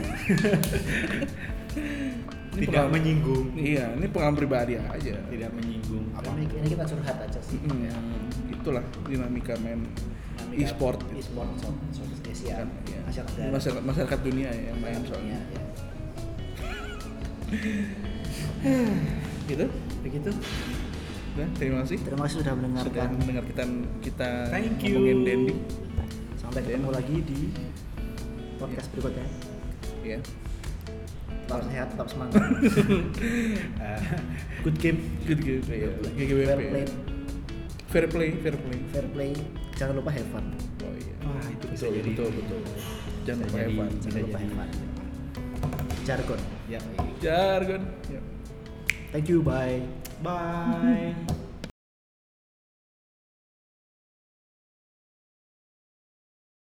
S4: tidak
S2: pengalaman-
S4: menyinggung,
S2: Iya, ini pengalaman pribadi aja.
S4: tidak menyinggung apa
S3: Ini, ini kita curhat aja sih.
S2: Mm, itulah dinamika main
S3: Dinamika
S2: e-sport. gitu.
S3: e-sport Southeast Asia.
S2: Kan, iya.
S3: Masyarakat darat.
S2: masyarakat, masyarakat dunia yang main
S3: Iya,
S2: soalnya.
S3: iya.
S2: Gitu.
S3: Begitu.
S2: Nah, terima kasih
S3: Terima kasih sudah
S2: sudah
S3: mendengarkan.
S2: mendengar kita kita
S4: Thank you.
S2: ngomongin Dendi.
S3: Sampai ketemu lagi di podcast berikutnya.
S2: Ya.
S3: Tetap sehat, tetap semangat.
S4: Eh,
S3: Good game.
S2: Good game. ya. GGWP.
S3: Fair play.
S2: Fair play, fair play.
S3: Fair play. Jangan lupa have fun.
S2: Oh iya.
S4: wah itu bisa
S2: betul,
S4: jadi
S2: betul, betul. Jangan
S4: bisa
S2: lupa
S4: jadi-
S2: Evan.
S4: bisa
S3: Jangan lupa
S4: jadi
S3: have fun. Jargon.
S4: ya
S2: Jargon. Ya.
S3: Thank you. Bye.
S4: bye